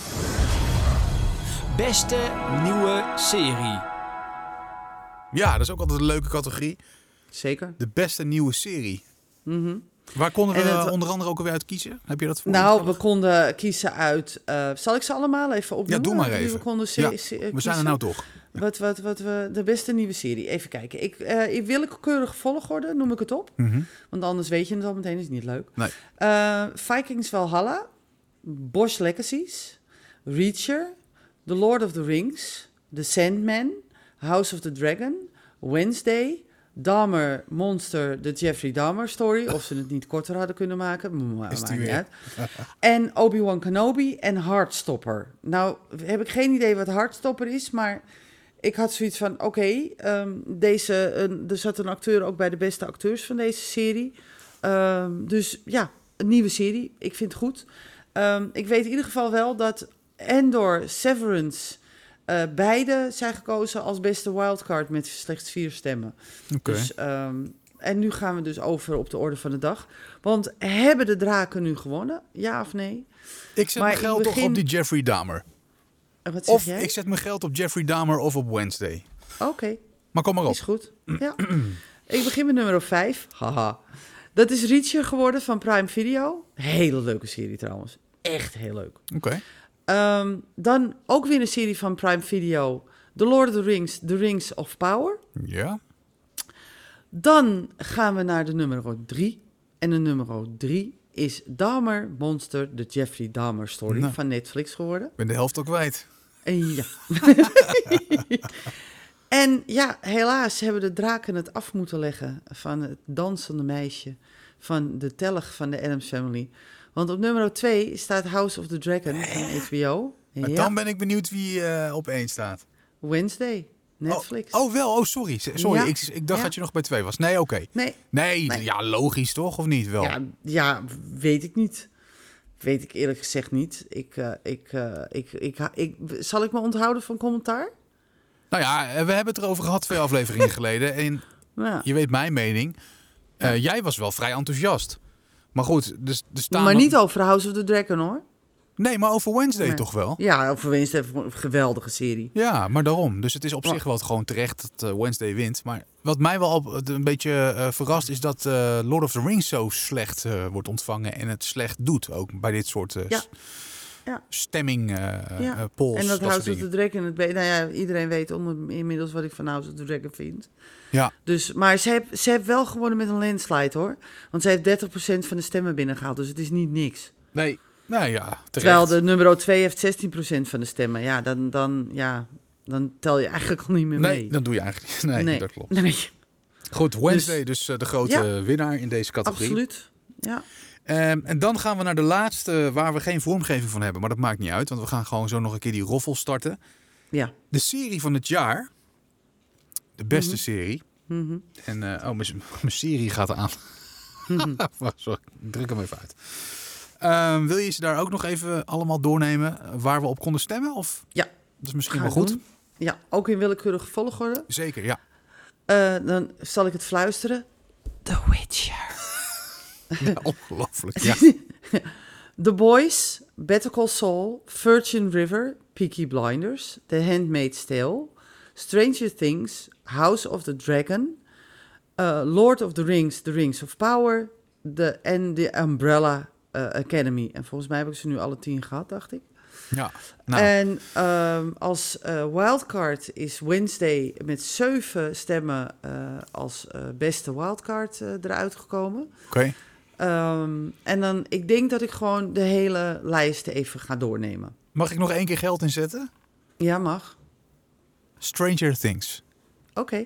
[SPEAKER 1] Beste nieuwe serie.
[SPEAKER 2] Ja, dat is ook altijd een leuke categorie.
[SPEAKER 3] Zeker.
[SPEAKER 2] De beste nieuwe serie. Waar konden we
[SPEAKER 3] Mhm. En het-
[SPEAKER 2] eh, onder andere ook weer uit kiezen? Heb je dat voor?
[SPEAKER 3] Nou, we konden kiezen uit... eh, zal ik ze allemaal even
[SPEAKER 2] ja,
[SPEAKER 3] opnoemen?
[SPEAKER 2] doe maar
[SPEAKER 3] Die
[SPEAKER 2] even.
[SPEAKER 3] We, konden se-
[SPEAKER 2] Ja,
[SPEAKER 3] se-
[SPEAKER 2] we zijn er
[SPEAKER 3] kiezen?
[SPEAKER 2] nou toch.
[SPEAKER 3] Wat, wat, wat we, de beste nieuwe serie. Even kijken. Ik, eh in willekeurige volgorde noem ik het op.
[SPEAKER 2] Mhm.
[SPEAKER 3] Want anders weet je het al meteen, is niet leuk.
[SPEAKER 2] Nee.
[SPEAKER 3] Eh, Vikings Valhalla, Bosch Legacies, Reacher, The Lord of the Rings, The Sandman, House of the Dragon, Wednesday, Dahmer Monster, The Jeffrey Dahmer Story. Of ze het niet korter hadden kunnen maken, maar
[SPEAKER 2] Is die
[SPEAKER 3] maakt niet
[SPEAKER 2] weer.
[SPEAKER 3] uit. En Obi-Wan Kenobi en Hardstopper. Nou, heb ik geen idee wat Hardstopper is, maar ik had zoiets van: oké, ehm, deze, een- er zat een acteur ook bij de beste acteurs van deze serie. Ehm, dus ja, een nieuwe serie. Ik vind het goed. Ehm, ik weet in ieder geval wel dat Endor, Severance, eh, beide zijn gekozen als beste wildcard met slechts vier stemmen.
[SPEAKER 2] Oké.
[SPEAKER 3] Dus, ehm, en nu gaan we dus over op de orde van de dag. Want hebben de draken nu gewonnen? Ja of nee?
[SPEAKER 2] Ik zet
[SPEAKER 3] maar
[SPEAKER 2] mijn
[SPEAKER 3] in
[SPEAKER 2] geld toch
[SPEAKER 3] begin-
[SPEAKER 2] op die Jeffrey Dahmer.
[SPEAKER 3] En wat zeg
[SPEAKER 2] Of
[SPEAKER 3] jij?
[SPEAKER 2] ik zet mijn geld op Jeffrey Dahmer of op Wednesday.
[SPEAKER 3] Oké,
[SPEAKER 2] Maar kom maar op.
[SPEAKER 3] is goed. Ja. ik begin met nummer 5. Haha. Dat is Reacher geworden van Prime Video. Hele leuke serie trouwens. Echt heel leuk.
[SPEAKER 2] Oké.
[SPEAKER 3] Ehm, dan ook weer een serie van Prime Video. The Lord of the Rings, The Rings of Power.
[SPEAKER 2] Ja.
[SPEAKER 3] Dan gaan we naar de nummer 3. En de nummer 3 is Dahmer Monster, de Jeffrey Dahmer story
[SPEAKER 2] Nou.
[SPEAKER 3] van Netflix geworden.
[SPEAKER 2] Ik ben de helft al kwijt.
[SPEAKER 3] En ja. en ja, helaas hebben de draken het af moeten leggen van het dansende meisje van de telg van de Adams Family. Want op nummer 2 staat House of the Dragon van HBO.
[SPEAKER 2] Maar
[SPEAKER 3] Ja,
[SPEAKER 2] dan ben ik benieuwd wie eh op één staat.
[SPEAKER 3] Wednesday, Netflix.
[SPEAKER 2] Oh, oh wel. Oh, sorry. S- Sorry,
[SPEAKER 3] Ja.
[SPEAKER 2] ik, ik dacht
[SPEAKER 3] Ja.
[SPEAKER 2] dat je nog bij twee was. Nee, oké.
[SPEAKER 3] Nee,
[SPEAKER 2] Nee,
[SPEAKER 3] Nee.
[SPEAKER 2] ja, logisch toch? Of niet wel?
[SPEAKER 3] Ja, ja, weet ik niet. Weet ik eerlijk gezegd niet. Ik, eh, ik, eh, ik, ik, ha- ik, zal ik me onthouden van commentaar?
[SPEAKER 2] Nou ja, eh, we hebben het erover gehad twee afleveringen geleden. En
[SPEAKER 3] Ja.
[SPEAKER 2] je weet mijn mening. Eh, jij was wel vrij enthousiast. Maar goed, dus er staan...
[SPEAKER 3] Maar niet over House of the Dragon hoor.
[SPEAKER 2] Nee, maar over Wednesday
[SPEAKER 3] Nee.
[SPEAKER 2] toch wel?
[SPEAKER 3] Ja, over Wednesday heeft een geweldige serie.
[SPEAKER 2] Ja, maar daarom. Dus het is op
[SPEAKER 3] Maar-
[SPEAKER 2] zich wel gewoon terecht dat eh, Wednesday wint. Maar wat mij wel op- een beetje eh, verrast is dat eh, Lord of the Rings zo slecht eh, wordt ontvangen. En het slecht doet ook bij dit soort eh,
[SPEAKER 3] Ja.
[SPEAKER 2] s-
[SPEAKER 3] Ja.
[SPEAKER 2] stemming eh
[SPEAKER 3] Ja.
[SPEAKER 2] eh, polls.
[SPEAKER 3] en dat,
[SPEAKER 2] soort
[SPEAKER 3] House of the
[SPEAKER 2] dingen.
[SPEAKER 3] Dragon, het be- nou ja, iedereen weet onder, inmiddels wat ik van House of the Dragon vind.
[SPEAKER 2] Ja,
[SPEAKER 3] Dus, maar ze heeft, ze heeft wel gewonnen met een landslide hoor. Want ze heeft 30% van de stemmen binnengehaald, dus het is niet niks.
[SPEAKER 2] nee. Nou ja, terecht.
[SPEAKER 3] Terwijl de nummer 2 heeft 16% van de stemmen. Ja, dan, dan, ja, dan tel je eigenlijk al niet meer mee.
[SPEAKER 2] Nee, dat doe je eigenlijk niet. Nee, dat klopt.
[SPEAKER 3] Nee,
[SPEAKER 2] Goed, Wednesday dus, eh, de grote
[SPEAKER 3] Ja.
[SPEAKER 2] winnaar in deze categorie.
[SPEAKER 3] absoluut. Ja.
[SPEAKER 2] Ehm, en dan gaan we naar de laatste waar we geen vormgeving van hebben. Maar dat maakt niet uit, want we gaan gewoon zo nog een keer die roffel starten.
[SPEAKER 3] Ja.
[SPEAKER 2] De serie van het jaar. De beste
[SPEAKER 3] Mhm.
[SPEAKER 2] serie. En, eh, oh, mijn mijn serie gaat aan.
[SPEAKER 3] Mhm.
[SPEAKER 2] Wacht, Sorry, ik druk hem even uit. Ehm, wil je ze daar ook nog even allemaal doornemen eh, waar we op konden stemmen? Of
[SPEAKER 3] Ja,
[SPEAKER 2] dat is misschien
[SPEAKER 3] ga
[SPEAKER 2] wel
[SPEAKER 3] ik
[SPEAKER 2] goed.
[SPEAKER 3] doen. Ja, ook in willekeurige volgorde.
[SPEAKER 2] Zeker, ja.
[SPEAKER 3] Eh, dan zal ik het fluisteren. The Witcher.
[SPEAKER 2] Ja, Ongelooflijk. Ja.
[SPEAKER 3] The Boys, Better Call Saul, Virgin River, Peaky Blinders, The Handmaid's Tale, Stranger Things, House of the Dragon, eh, Lord of the Rings, The Rings of Power de, en The Umbrella eh, Academy. En volgens mij heb ik ze nu alle tien gehad, dacht ik.
[SPEAKER 2] ja. Nou,
[SPEAKER 3] En ehm, als eh, wildcard is Wednesday met zeven stemmen eh, als eh, beste wildcard eh, eruit gekomen.
[SPEAKER 2] oké.
[SPEAKER 3] Ehm, en dan, ik denk dat ik gewoon de hele lijst even ga doornemen.
[SPEAKER 2] Mag ik nog één keer geld inzetten?
[SPEAKER 3] Ja, mag.
[SPEAKER 2] Stranger Things.
[SPEAKER 3] Oké.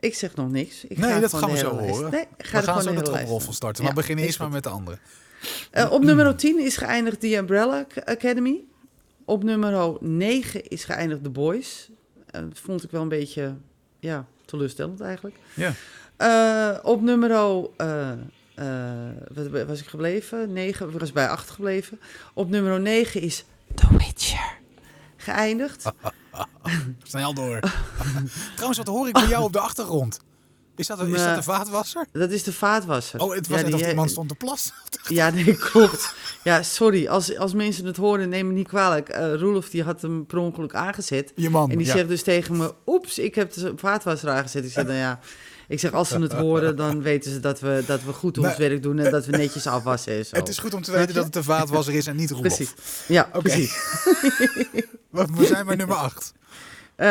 [SPEAKER 3] Ik zeg nog niks. Ik
[SPEAKER 2] nee,
[SPEAKER 3] ga
[SPEAKER 2] dat gaan
[SPEAKER 3] gewoon
[SPEAKER 2] we zo
[SPEAKER 3] de hele lijst-
[SPEAKER 2] horen.
[SPEAKER 3] Nee, ik ga
[SPEAKER 2] we gaan
[SPEAKER 3] er gewoon
[SPEAKER 2] zo
[SPEAKER 3] de
[SPEAKER 2] de
[SPEAKER 3] hele lijst
[SPEAKER 2] toproffel
[SPEAKER 3] doen.
[SPEAKER 2] starten.
[SPEAKER 3] Ja,
[SPEAKER 2] maar we beginnen
[SPEAKER 3] is
[SPEAKER 2] eerst maar
[SPEAKER 3] goed.
[SPEAKER 2] met de andere.
[SPEAKER 3] Eh, op nummer 10 is geëindigd The Umbrella Academy. Op nummer 9 is geëindigd The Boys. Eh, dat vond ik wel een beetje ja, teleurstellend eigenlijk.
[SPEAKER 2] Ja.
[SPEAKER 3] Eh, op nummer eh eh, wat was ik gebleven? 9, ik was bij 8 gebleven. Op nummer 9 is The Witcher geëindigd.
[SPEAKER 2] Snel door. Trouwens, wat hoor ik bij jou op de achtergrond? Is dat, is dat
[SPEAKER 3] Nee.
[SPEAKER 2] de vaatwasser?
[SPEAKER 3] Dat is de vaatwasser.
[SPEAKER 2] Oh, het
[SPEAKER 3] Nou,
[SPEAKER 2] was
[SPEAKER 3] Ja,
[SPEAKER 2] net
[SPEAKER 3] die- eh,
[SPEAKER 2] alsof iemand stond te plassen.
[SPEAKER 3] Ja, nee, klopt. Ja, sorry. Als, als mensen het horen, neem me niet kwalijk. Eh Roelof die had hem per ongeluk aangezet.
[SPEAKER 2] Je man.
[SPEAKER 3] En die
[SPEAKER 2] ja.
[SPEAKER 3] zegt dus tegen me, oeps, ik heb de vaatwasser aangezet. Ik zeg, nou ja, ik zeg, als ze het horen, dan weten ze dat we, dat we goed ons
[SPEAKER 2] Nou,
[SPEAKER 3] werk doen en dat we netjes afwassen en zo.
[SPEAKER 2] Het is goed om te weten dat het de vaatwasser is en niet Roelof.
[SPEAKER 3] Precies. Ja,
[SPEAKER 2] Oké.
[SPEAKER 3] precies.
[SPEAKER 2] Want We zijn bij nummer 8.
[SPEAKER 3] Eh,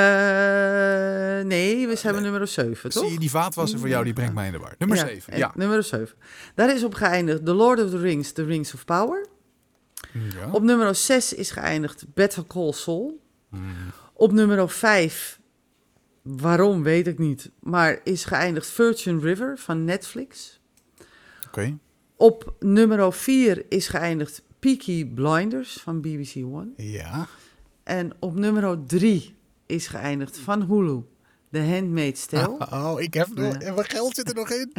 [SPEAKER 3] nee, we zijn bij nummer 7, toch?
[SPEAKER 2] Zie je, die vaatwasser voor jou, die brengt mij in de war. Nummer 7,
[SPEAKER 3] en
[SPEAKER 2] ja.
[SPEAKER 3] Nummer 7. Daar is op geëindigd The Lord of the Rings, The Rings of Power.
[SPEAKER 2] Ja.
[SPEAKER 3] Op nummer 6 is geëindigd Better Call Saul. Op nummer 5, waarom weet ik niet, maar is geëindigd Virgin River van Netflix.
[SPEAKER 2] Oké.
[SPEAKER 3] Op nummer 4 is geëindigd Peaky Blinders van BBC One.
[SPEAKER 2] Ja.
[SPEAKER 3] En op nummer 3 is geëindigd van Hulu, The Handmaid's Tale.
[SPEAKER 2] Oh, ik heb nog... en Mijn geld zit er nog in.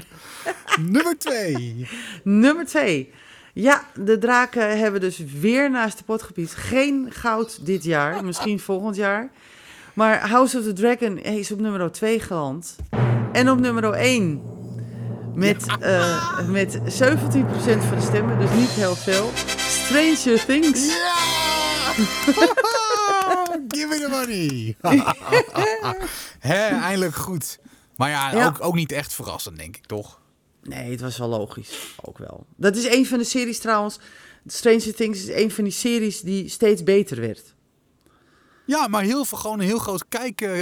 [SPEAKER 2] nummer 2.
[SPEAKER 3] Nummer 2. Ja, de draken hebben dus weer naast de pot gepiet. Geen goud dit jaar, misschien volgend jaar. Maar House of the Dragon is op nummer 2 geland. En op nummer 1. Met, eh, met 17% van de stemmen, dus niet heel veel. Stranger Things.
[SPEAKER 2] Ja! Give me the money. Hè, eindelijk goed. Maar ja,
[SPEAKER 3] Ja.
[SPEAKER 2] Ook, ook niet echt verrassend, denk ik, toch?
[SPEAKER 3] Nee, het was wel logisch. Ook wel. Dat is een van de series trouwens. Stranger Things is een van die series die steeds beter werd.
[SPEAKER 2] Ja, maar heel veel, gewoon een heel groot kijk, eh,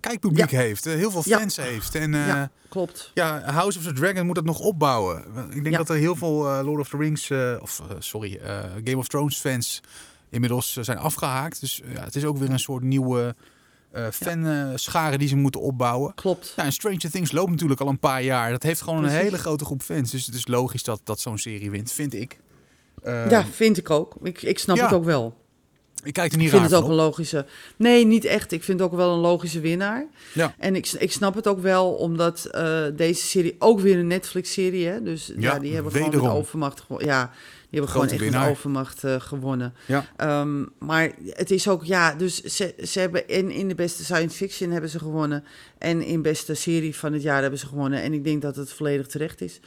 [SPEAKER 2] kijkpubliek
[SPEAKER 3] Ja.
[SPEAKER 2] heeft. eh, heel veel
[SPEAKER 3] Ja.
[SPEAKER 2] fans heeft. En eh,
[SPEAKER 3] ja,
[SPEAKER 2] ja.
[SPEAKER 3] klopt.
[SPEAKER 2] House of the Dragon moet dat nog opbouwen. Ik denk
[SPEAKER 3] Ja.
[SPEAKER 2] dat er heel veel eh, Lord of the Rings, eh, of eh, sorry, eh, Game of Thrones fans inmiddels eh, zijn afgehaakt. Dus eh, ja, het is ook weer een soort nieuwe eh fanscharen die ze moeten opbouwen.
[SPEAKER 3] Klopt.
[SPEAKER 2] Ja, en Stranger Things loopt natuurlijk al een paar jaar. Dat heeft gewoon een
[SPEAKER 3] Precies.
[SPEAKER 2] hele grote groep fans. Dus het is logisch dat, dat zo'n serie wint, vind ik. Eh,
[SPEAKER 3] Ja, vind ik ook. Ik, ik snap
[SPEAKER 2] ja.
[SPEAKER 3] het ook wel.
[SPEAKER 2] Ik kijk er niet
[SPEAKER 3] Ik vind
[SPEAKER 2] raar
[SPEAKER 3] het ook
[SPEAKER 2] van
[SPEAKER 3] een
[SPEAKER 2] op.
[SPEAKER 3] logische. Nee, niet echt. Ik vind het ook wel een logische winnaar.
[SPEAKER 2] Ja.
[SPEAKER 3] En ik, ik snap het ook wel, omdat eh, deze serie ook weer een Netflix-serie hè Dus ja,
[SPEAKER 2] Ja,
[SPEAKER 3] die hebben gewoon
[SPEAKER 2] wederom.
[SPEAKER 3] met overmacht gewonnen. Ja, die hebben
[SPEAKER 2] Grote
[SPEAKER 3] gewoon echt
[SPEAKER 2] winnaar.
[SPEAKER 3] met overmacht eh, gewonnen.
[SPEAKER 2] Ja.
[SPEAKER 3] Ehm, maar het is ook, ja, dus ze, ze hebben in, in de beste science fiction hebben ze gewonnen. En in beste serie van het jaar hebben ze gewonnen. En ik denk dat het volledig terecht is.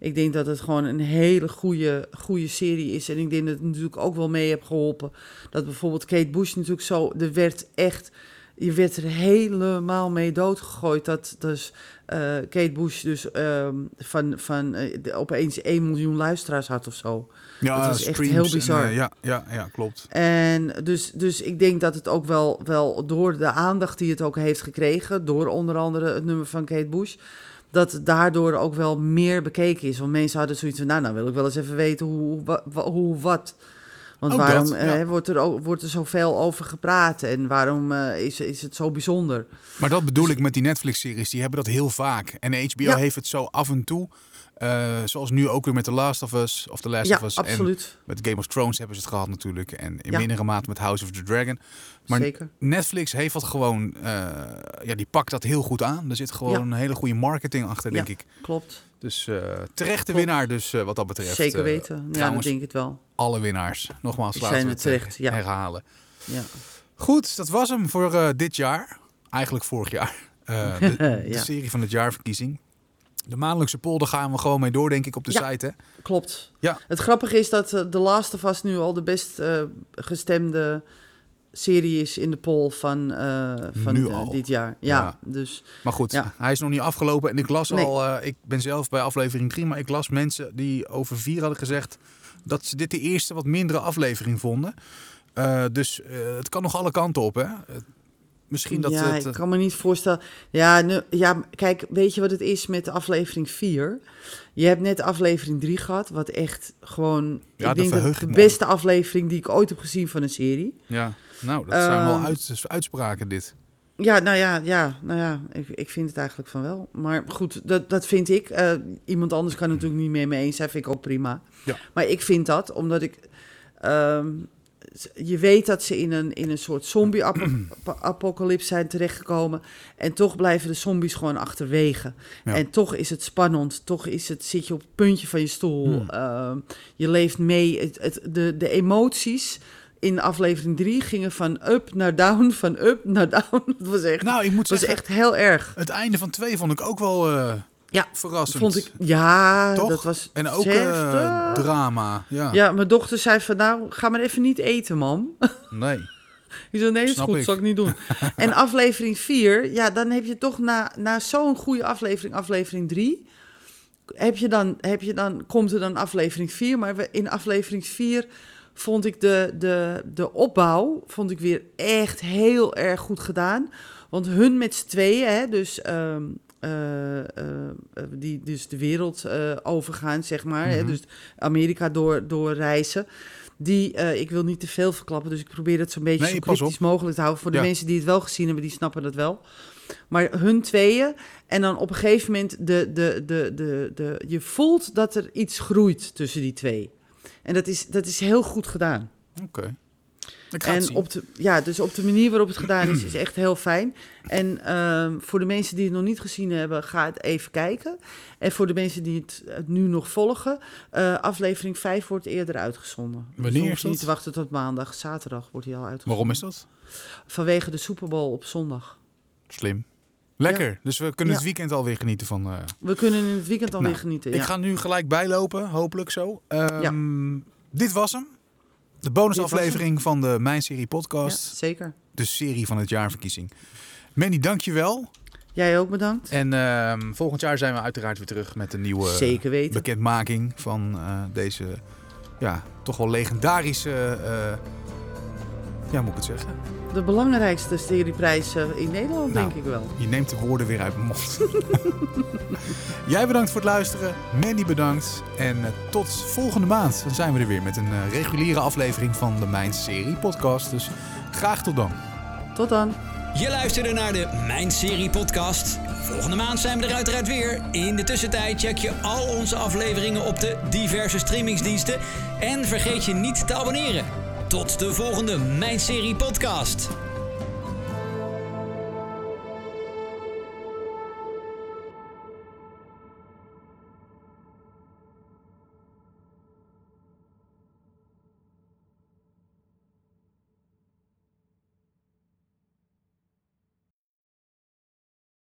[SPEAKER 3] Ik denk dat het gewoon een hele goede, goede serie is. En ik denk dat het natuurlijk ook wel mee heeft geholpen. Dat bijvoorbeeld Kate Bush natuurlijk zo... Er werd echt... Je werd er helemaal mee doodgegooid. Dat dus eh, Kate Bush dus ehm, van, van eh, de- opeens 1 miljoen luisteraars had of zo.
[SPEAKER 2] Ja,
[SPEAKER 3] Het was echt
[SPEAKER 2] streams
[SPEAKER 3] heel
[SPEAKER 2] en,
[SPEAKER 3] bizar.
[SPEAKER 2] eh, ja, ja, ja, klopt.
[SPEAKER 3] En dus, dus ik denk dat het ook wel, wel door de aandacht die het ook heeft gekregen, door onder andere het nummer van Kate Bush, dat het daardoor ook wel meer bekeken is. Want mensen hadden zoiets van, nou, nou wil ik wel eens even weten hoe, wa- wa- hoe wat. Want
[SPEAKER 2] Ook
[SPEAKER 3] waarom
[SPEAKER 2] dat,
[SPEAKER 3] eh,
[SPEAKER 2] ja.
[SPEAKER 3] wordt, er, ook- wordt er zoveel over gepraat en waarom eh, is, is het zo bijzonder?
[SPEAKER 2] Maar dat bedoel ik met die Netflix-series. Die hebben dat heel vaak. En HBO
[SPEAKER 3] Ja.
[SPEAKER 2] heeft het zo af en toe. Eh, zoals nu ook weer met The Last of Us. Of The Last
[SPEAKER 3] ja,
[SPEAKER 2] of Us.
[SPEAKER 3] absoluut.
[SPEAKER 2] En met Game of Thrones hebben ze het gehad natuurlijk. En in
[SPEAKER 3] Ja.
[SPEAKER 2] mindere mate met House of the Dragon. Maar
[SPEAKER 3] Zeker.
[SPEAKER 2] Netflix heeft dat gewoon... eh, ja, die pakt dat heel goed aan. Er zit gewoon
[SPEAKER 3] Ja.
[SPEAKER 2] een hele goede marketing achter,
[SPEAKER 3] Ja.
[SPEAKER 2] denk ik.
[SPEAKER 3] Klopt.
[SPEAKER 2] Dus eh terechte winnaar dus, eh, wat dat betreft.
[SPEAKER 3] Zeker
[SPEAKER 2] Eh,
[SPEAKER 3] weten. Ja, dat
[SPEAKER 2] trouwens,
[SPEAKER 3] denk ik het wel.
[SPEAKER 2] alle winnaars. Nogmaals,
[SPEAKER 3] Die
[SPEAKER 2] laten
[SPEAKER 3] zijn
[SPEAKER 2] we
[SPEAKER 3] er
[SPEAKER 2] het eh,
[SPEAKER 3] terecht, ja.
[SPEAKER 2] herhalen.
[SPEAKER 3] Ja.
[SPEAKER 2] Goed, dat was hem voor eh, dit jaar. Eigenlijk vorig jaar. Eh, de, de
[SPEAKER 3] Ja.
[SPEAKER 2] serie van het jaarverkiezing. De maandelijkse poll, daar gaan we gewoon mee door, denk ik, op de
[SPEAKER 3] Ja.
[SPEAKER 2] site. Hè?
[SPEAKER 3] Klopt.
[SPEAKER 2] Ja.
[SPEAKER 3] Het grappige is dat eh, The Last of Us nu al de best eh, gestemde serie is in de poll van, eh, van
[SPEAKER 2] Nu
[SPEAKER 3] eh,
[SPEAKER 2] al.
[SPEAKER 3] dit jaar. Ja,
[SPEAKER 2] Ja.
[SPEAKER 3] dus
[SPEAKER 2] Maar goed,
[SPEAKER 3] Ja.
[SPEAKER 2] hij is nog niet afgelopen. En ik las
[SPEAKER 3] Nee.
[SPEAKER 2] al, eh, ik ben zelf bij aflevering 3, maar ik las mensen die over vier hadden gezegd dat ze dit de eerste wat mindere aflevering vonden. Eh, dus eh, het kan nog alle kanten op, hè? Eh, misschien dat
[SPEAKER 3] ja,
[SPEAKER 2] het... eh,
[SPEAKER 3] ik kan me niet voorstellen. Ja, nu, ja, kijk, weet je wat het is met aflevering 4? Je hebt net aflevering 3 gehad, wat echt gewoon...
[SPEAKER 2] Ja, daar
[SPEAKER 3] ik denk
[SPEAKER 2] verheug ik
[SPEAKER 3] dat de
[SPEAKER 2] me
[SPEAKER 3] beste aflevering die ik ooit heb gezien van een serie.
[SPEAKER 2] Ja, nou, dat zijn wel
[SPEAKER 3] Ehm,
[SPEAKER 2] uits- uitspraken dit.
[SPEAKER 3] Ja, nou ja, ja, nou ja ik, ik vind het eigenlijk van wel. Maar goed, dat, dat vind ik. Eh, iemand anders kan het natuurlijk niet meer mee eens zijn, vind ik ook prima.
[SPEAKER 2] Ja.
[SPEAKER 3] Maar ik vind dat, omdat ik... ehm, z- je weet dat ze in een, in een soort zombie-apocalypse zijn terechtgekomen. En toch blijven de zombies gewoon achterwege.
[SPEAKER 2] Ja.
[SPEAKER 3] En toch is het spannend. Toch is het, zit je op het puntje van je stoel.
[SPEAKER 2] Hmm.
[SPEAKER 3] Ehm, je leeft mee. Het, het, de, de emoties in aflevering 3 gingen van up naar down, van up naar down. Dat was echt,
[SPEAKER 2] Nou, ik moet
[SPEAKER 3] dat was
[SPEAKER 2] zeggen,
[SPEAKER 3] echt heel erg.
[SPEAKER 2] het einde van twee vond ik ook wel eh,
[SPEAKER 3] Ja,
[SPEAKER 2] verrassend.
[SPEAKER 3] Vond ik, ja,
[SPEAKER 2] Toch?
[SPEAKER 3] Eh, dat was
[SPEAKER 2] En ook
[SPEAKER 3] echt,
[SPEAKER 2] eh,
[SPEAKER 3] eh,
[SPEAKER 2] drama. Ja.
[SPEAKER 3] Ja, mijn dochter zei van nou, ga maar even niet eten, mam.
[SPEAKER 2] Nee.
[SPEAKER 3] Ik zei, nee, dat is
[SPEAKER 2] Snap
[SPEAKER 3] goed,
[SPEAKER 2] ik.
[SPEAKER 3] zal ik niet doen. en aflevering 4, ja, dan heb je toch na, na zo'n goede aflevering, aflevering 3, heb je dan, heb je dan, komt er dan aflevering 4. Maar we- in aflevering 4 vond ik de, de, de opbouw vond ik weer echt heel erg goed gedaan. Want hun met z'n tweeën, hè, dus, ehm, eh, eh, die, dus de wereld eh, overgaan, zeg maar. hè,
[SPEAKER 2] Mhm.
[SPEAKER 3] dus Amerika door, door reizen. Die, eh, ik wil niet te veel verklappen, dus ik probeer dat zo'n beetje
[SPEAKER 2] Nee,
[SPEAKER 3] zo
[SPEAKER 2] pas op.
[SPEAKER 3] cryptisch mogelijk te houden. Voor de
[SPEAKER 2] Ja.
[SPEAKER 3] mensen die het wel gezien hebben, die snappen dat wel. Maar hun tweeën. En dan op een gegeven moment, de, de, de, de, de, je voelt dat er iets groeit tussen die twee. En dat is, dat is heel goed gedaan.
[SPEAKER 2] Oké. Ik ga het
[SPEAKER 3] En
[SPEAKER 2] zien.
[SPEAKER 3] op de, ja, dus op de manier waarop het gedaan is, is echt heel fijn. En ehm, voor de mensen die het nog niet gezien hebben, ga het even kijken. En voor de mensen die het, het nu nog volgen, eh, aflevering 5 wordt eerder uitgezonden. Dus
[SPEAKER 2] Wanneer
[SPEAKER 3] je hoeft
[SPEAKER 2] is dat?
[SPEAKER 3] Niet te wachten tot maandag, zaterdag wordt hij al uitgezonden.
[SPEAKER 2] Waarom is dat?
[SPEAKER 3] Vanwege de Super Bowl op zondag.
[SPEAKER 2] Slim. Lekker. Dus we kunnen het
[SPEAKER 3] Ja.
[SPEAKER 2] weekend alweer genieten van... eh,
[SPEAKER 3] We kunnen in het weekend alweer
[SPEAKER 2] Nou,
[SPEAKER 3] genieten.
[SPEAKER 2] Ik
[SPEAKER 3] ja.
[SPEAKER 2] ga nu gelijk bijlopen, hopelijk zo. Ehm, Dit was hem. De bonusaflevering van de Mijn Serie
[SPEAKER 3] Ja,
[SPEAKER 2] podcast.
[SPEAKER 3] zeker.
[SPEAKER 2] De serie van het jaarverkiezing. Manny, dankjewel.
[SPEAKER 3] Jij ook bedankt.
[SPEAKER 2] En ehm, volgend jaar zijn we uiteraard weer terug met een nieuwe
[SPEAKER 3] zeker weten.
[SPEAKER 2] bekendmaking van eh, deze ja, toch wel legendarische... eh, ja, moet ik het zeggen?
[SPEAKER 3] De belangrijkste serieprijs eh, in Nederland,
[SPEAKER 2] Nou.
[SPEAKER 3] denk ik wel.
[SPEAKER 2] Je neemt de woorden weer uit mijn mond. Jij bedankt voor het luisteren. Mandy bedankt. En eh, tot volgende maand. Dan zijn we er weer met een eh, reguliere aflevering van de Mijn Serie podcast. Dus graag tot dan.
[SPEAKER 3] Tot dan.
[SPEAKER 1] Je luisterde naar de Mijn Serie podcast. Volgende maand zijn we er uiteraard weer. In de tussentijd check je al onze afleveringen op de diverse streamingsdiensten. En vergeet je niet te abonneren. Tot de volgende Mijn Serie podcast.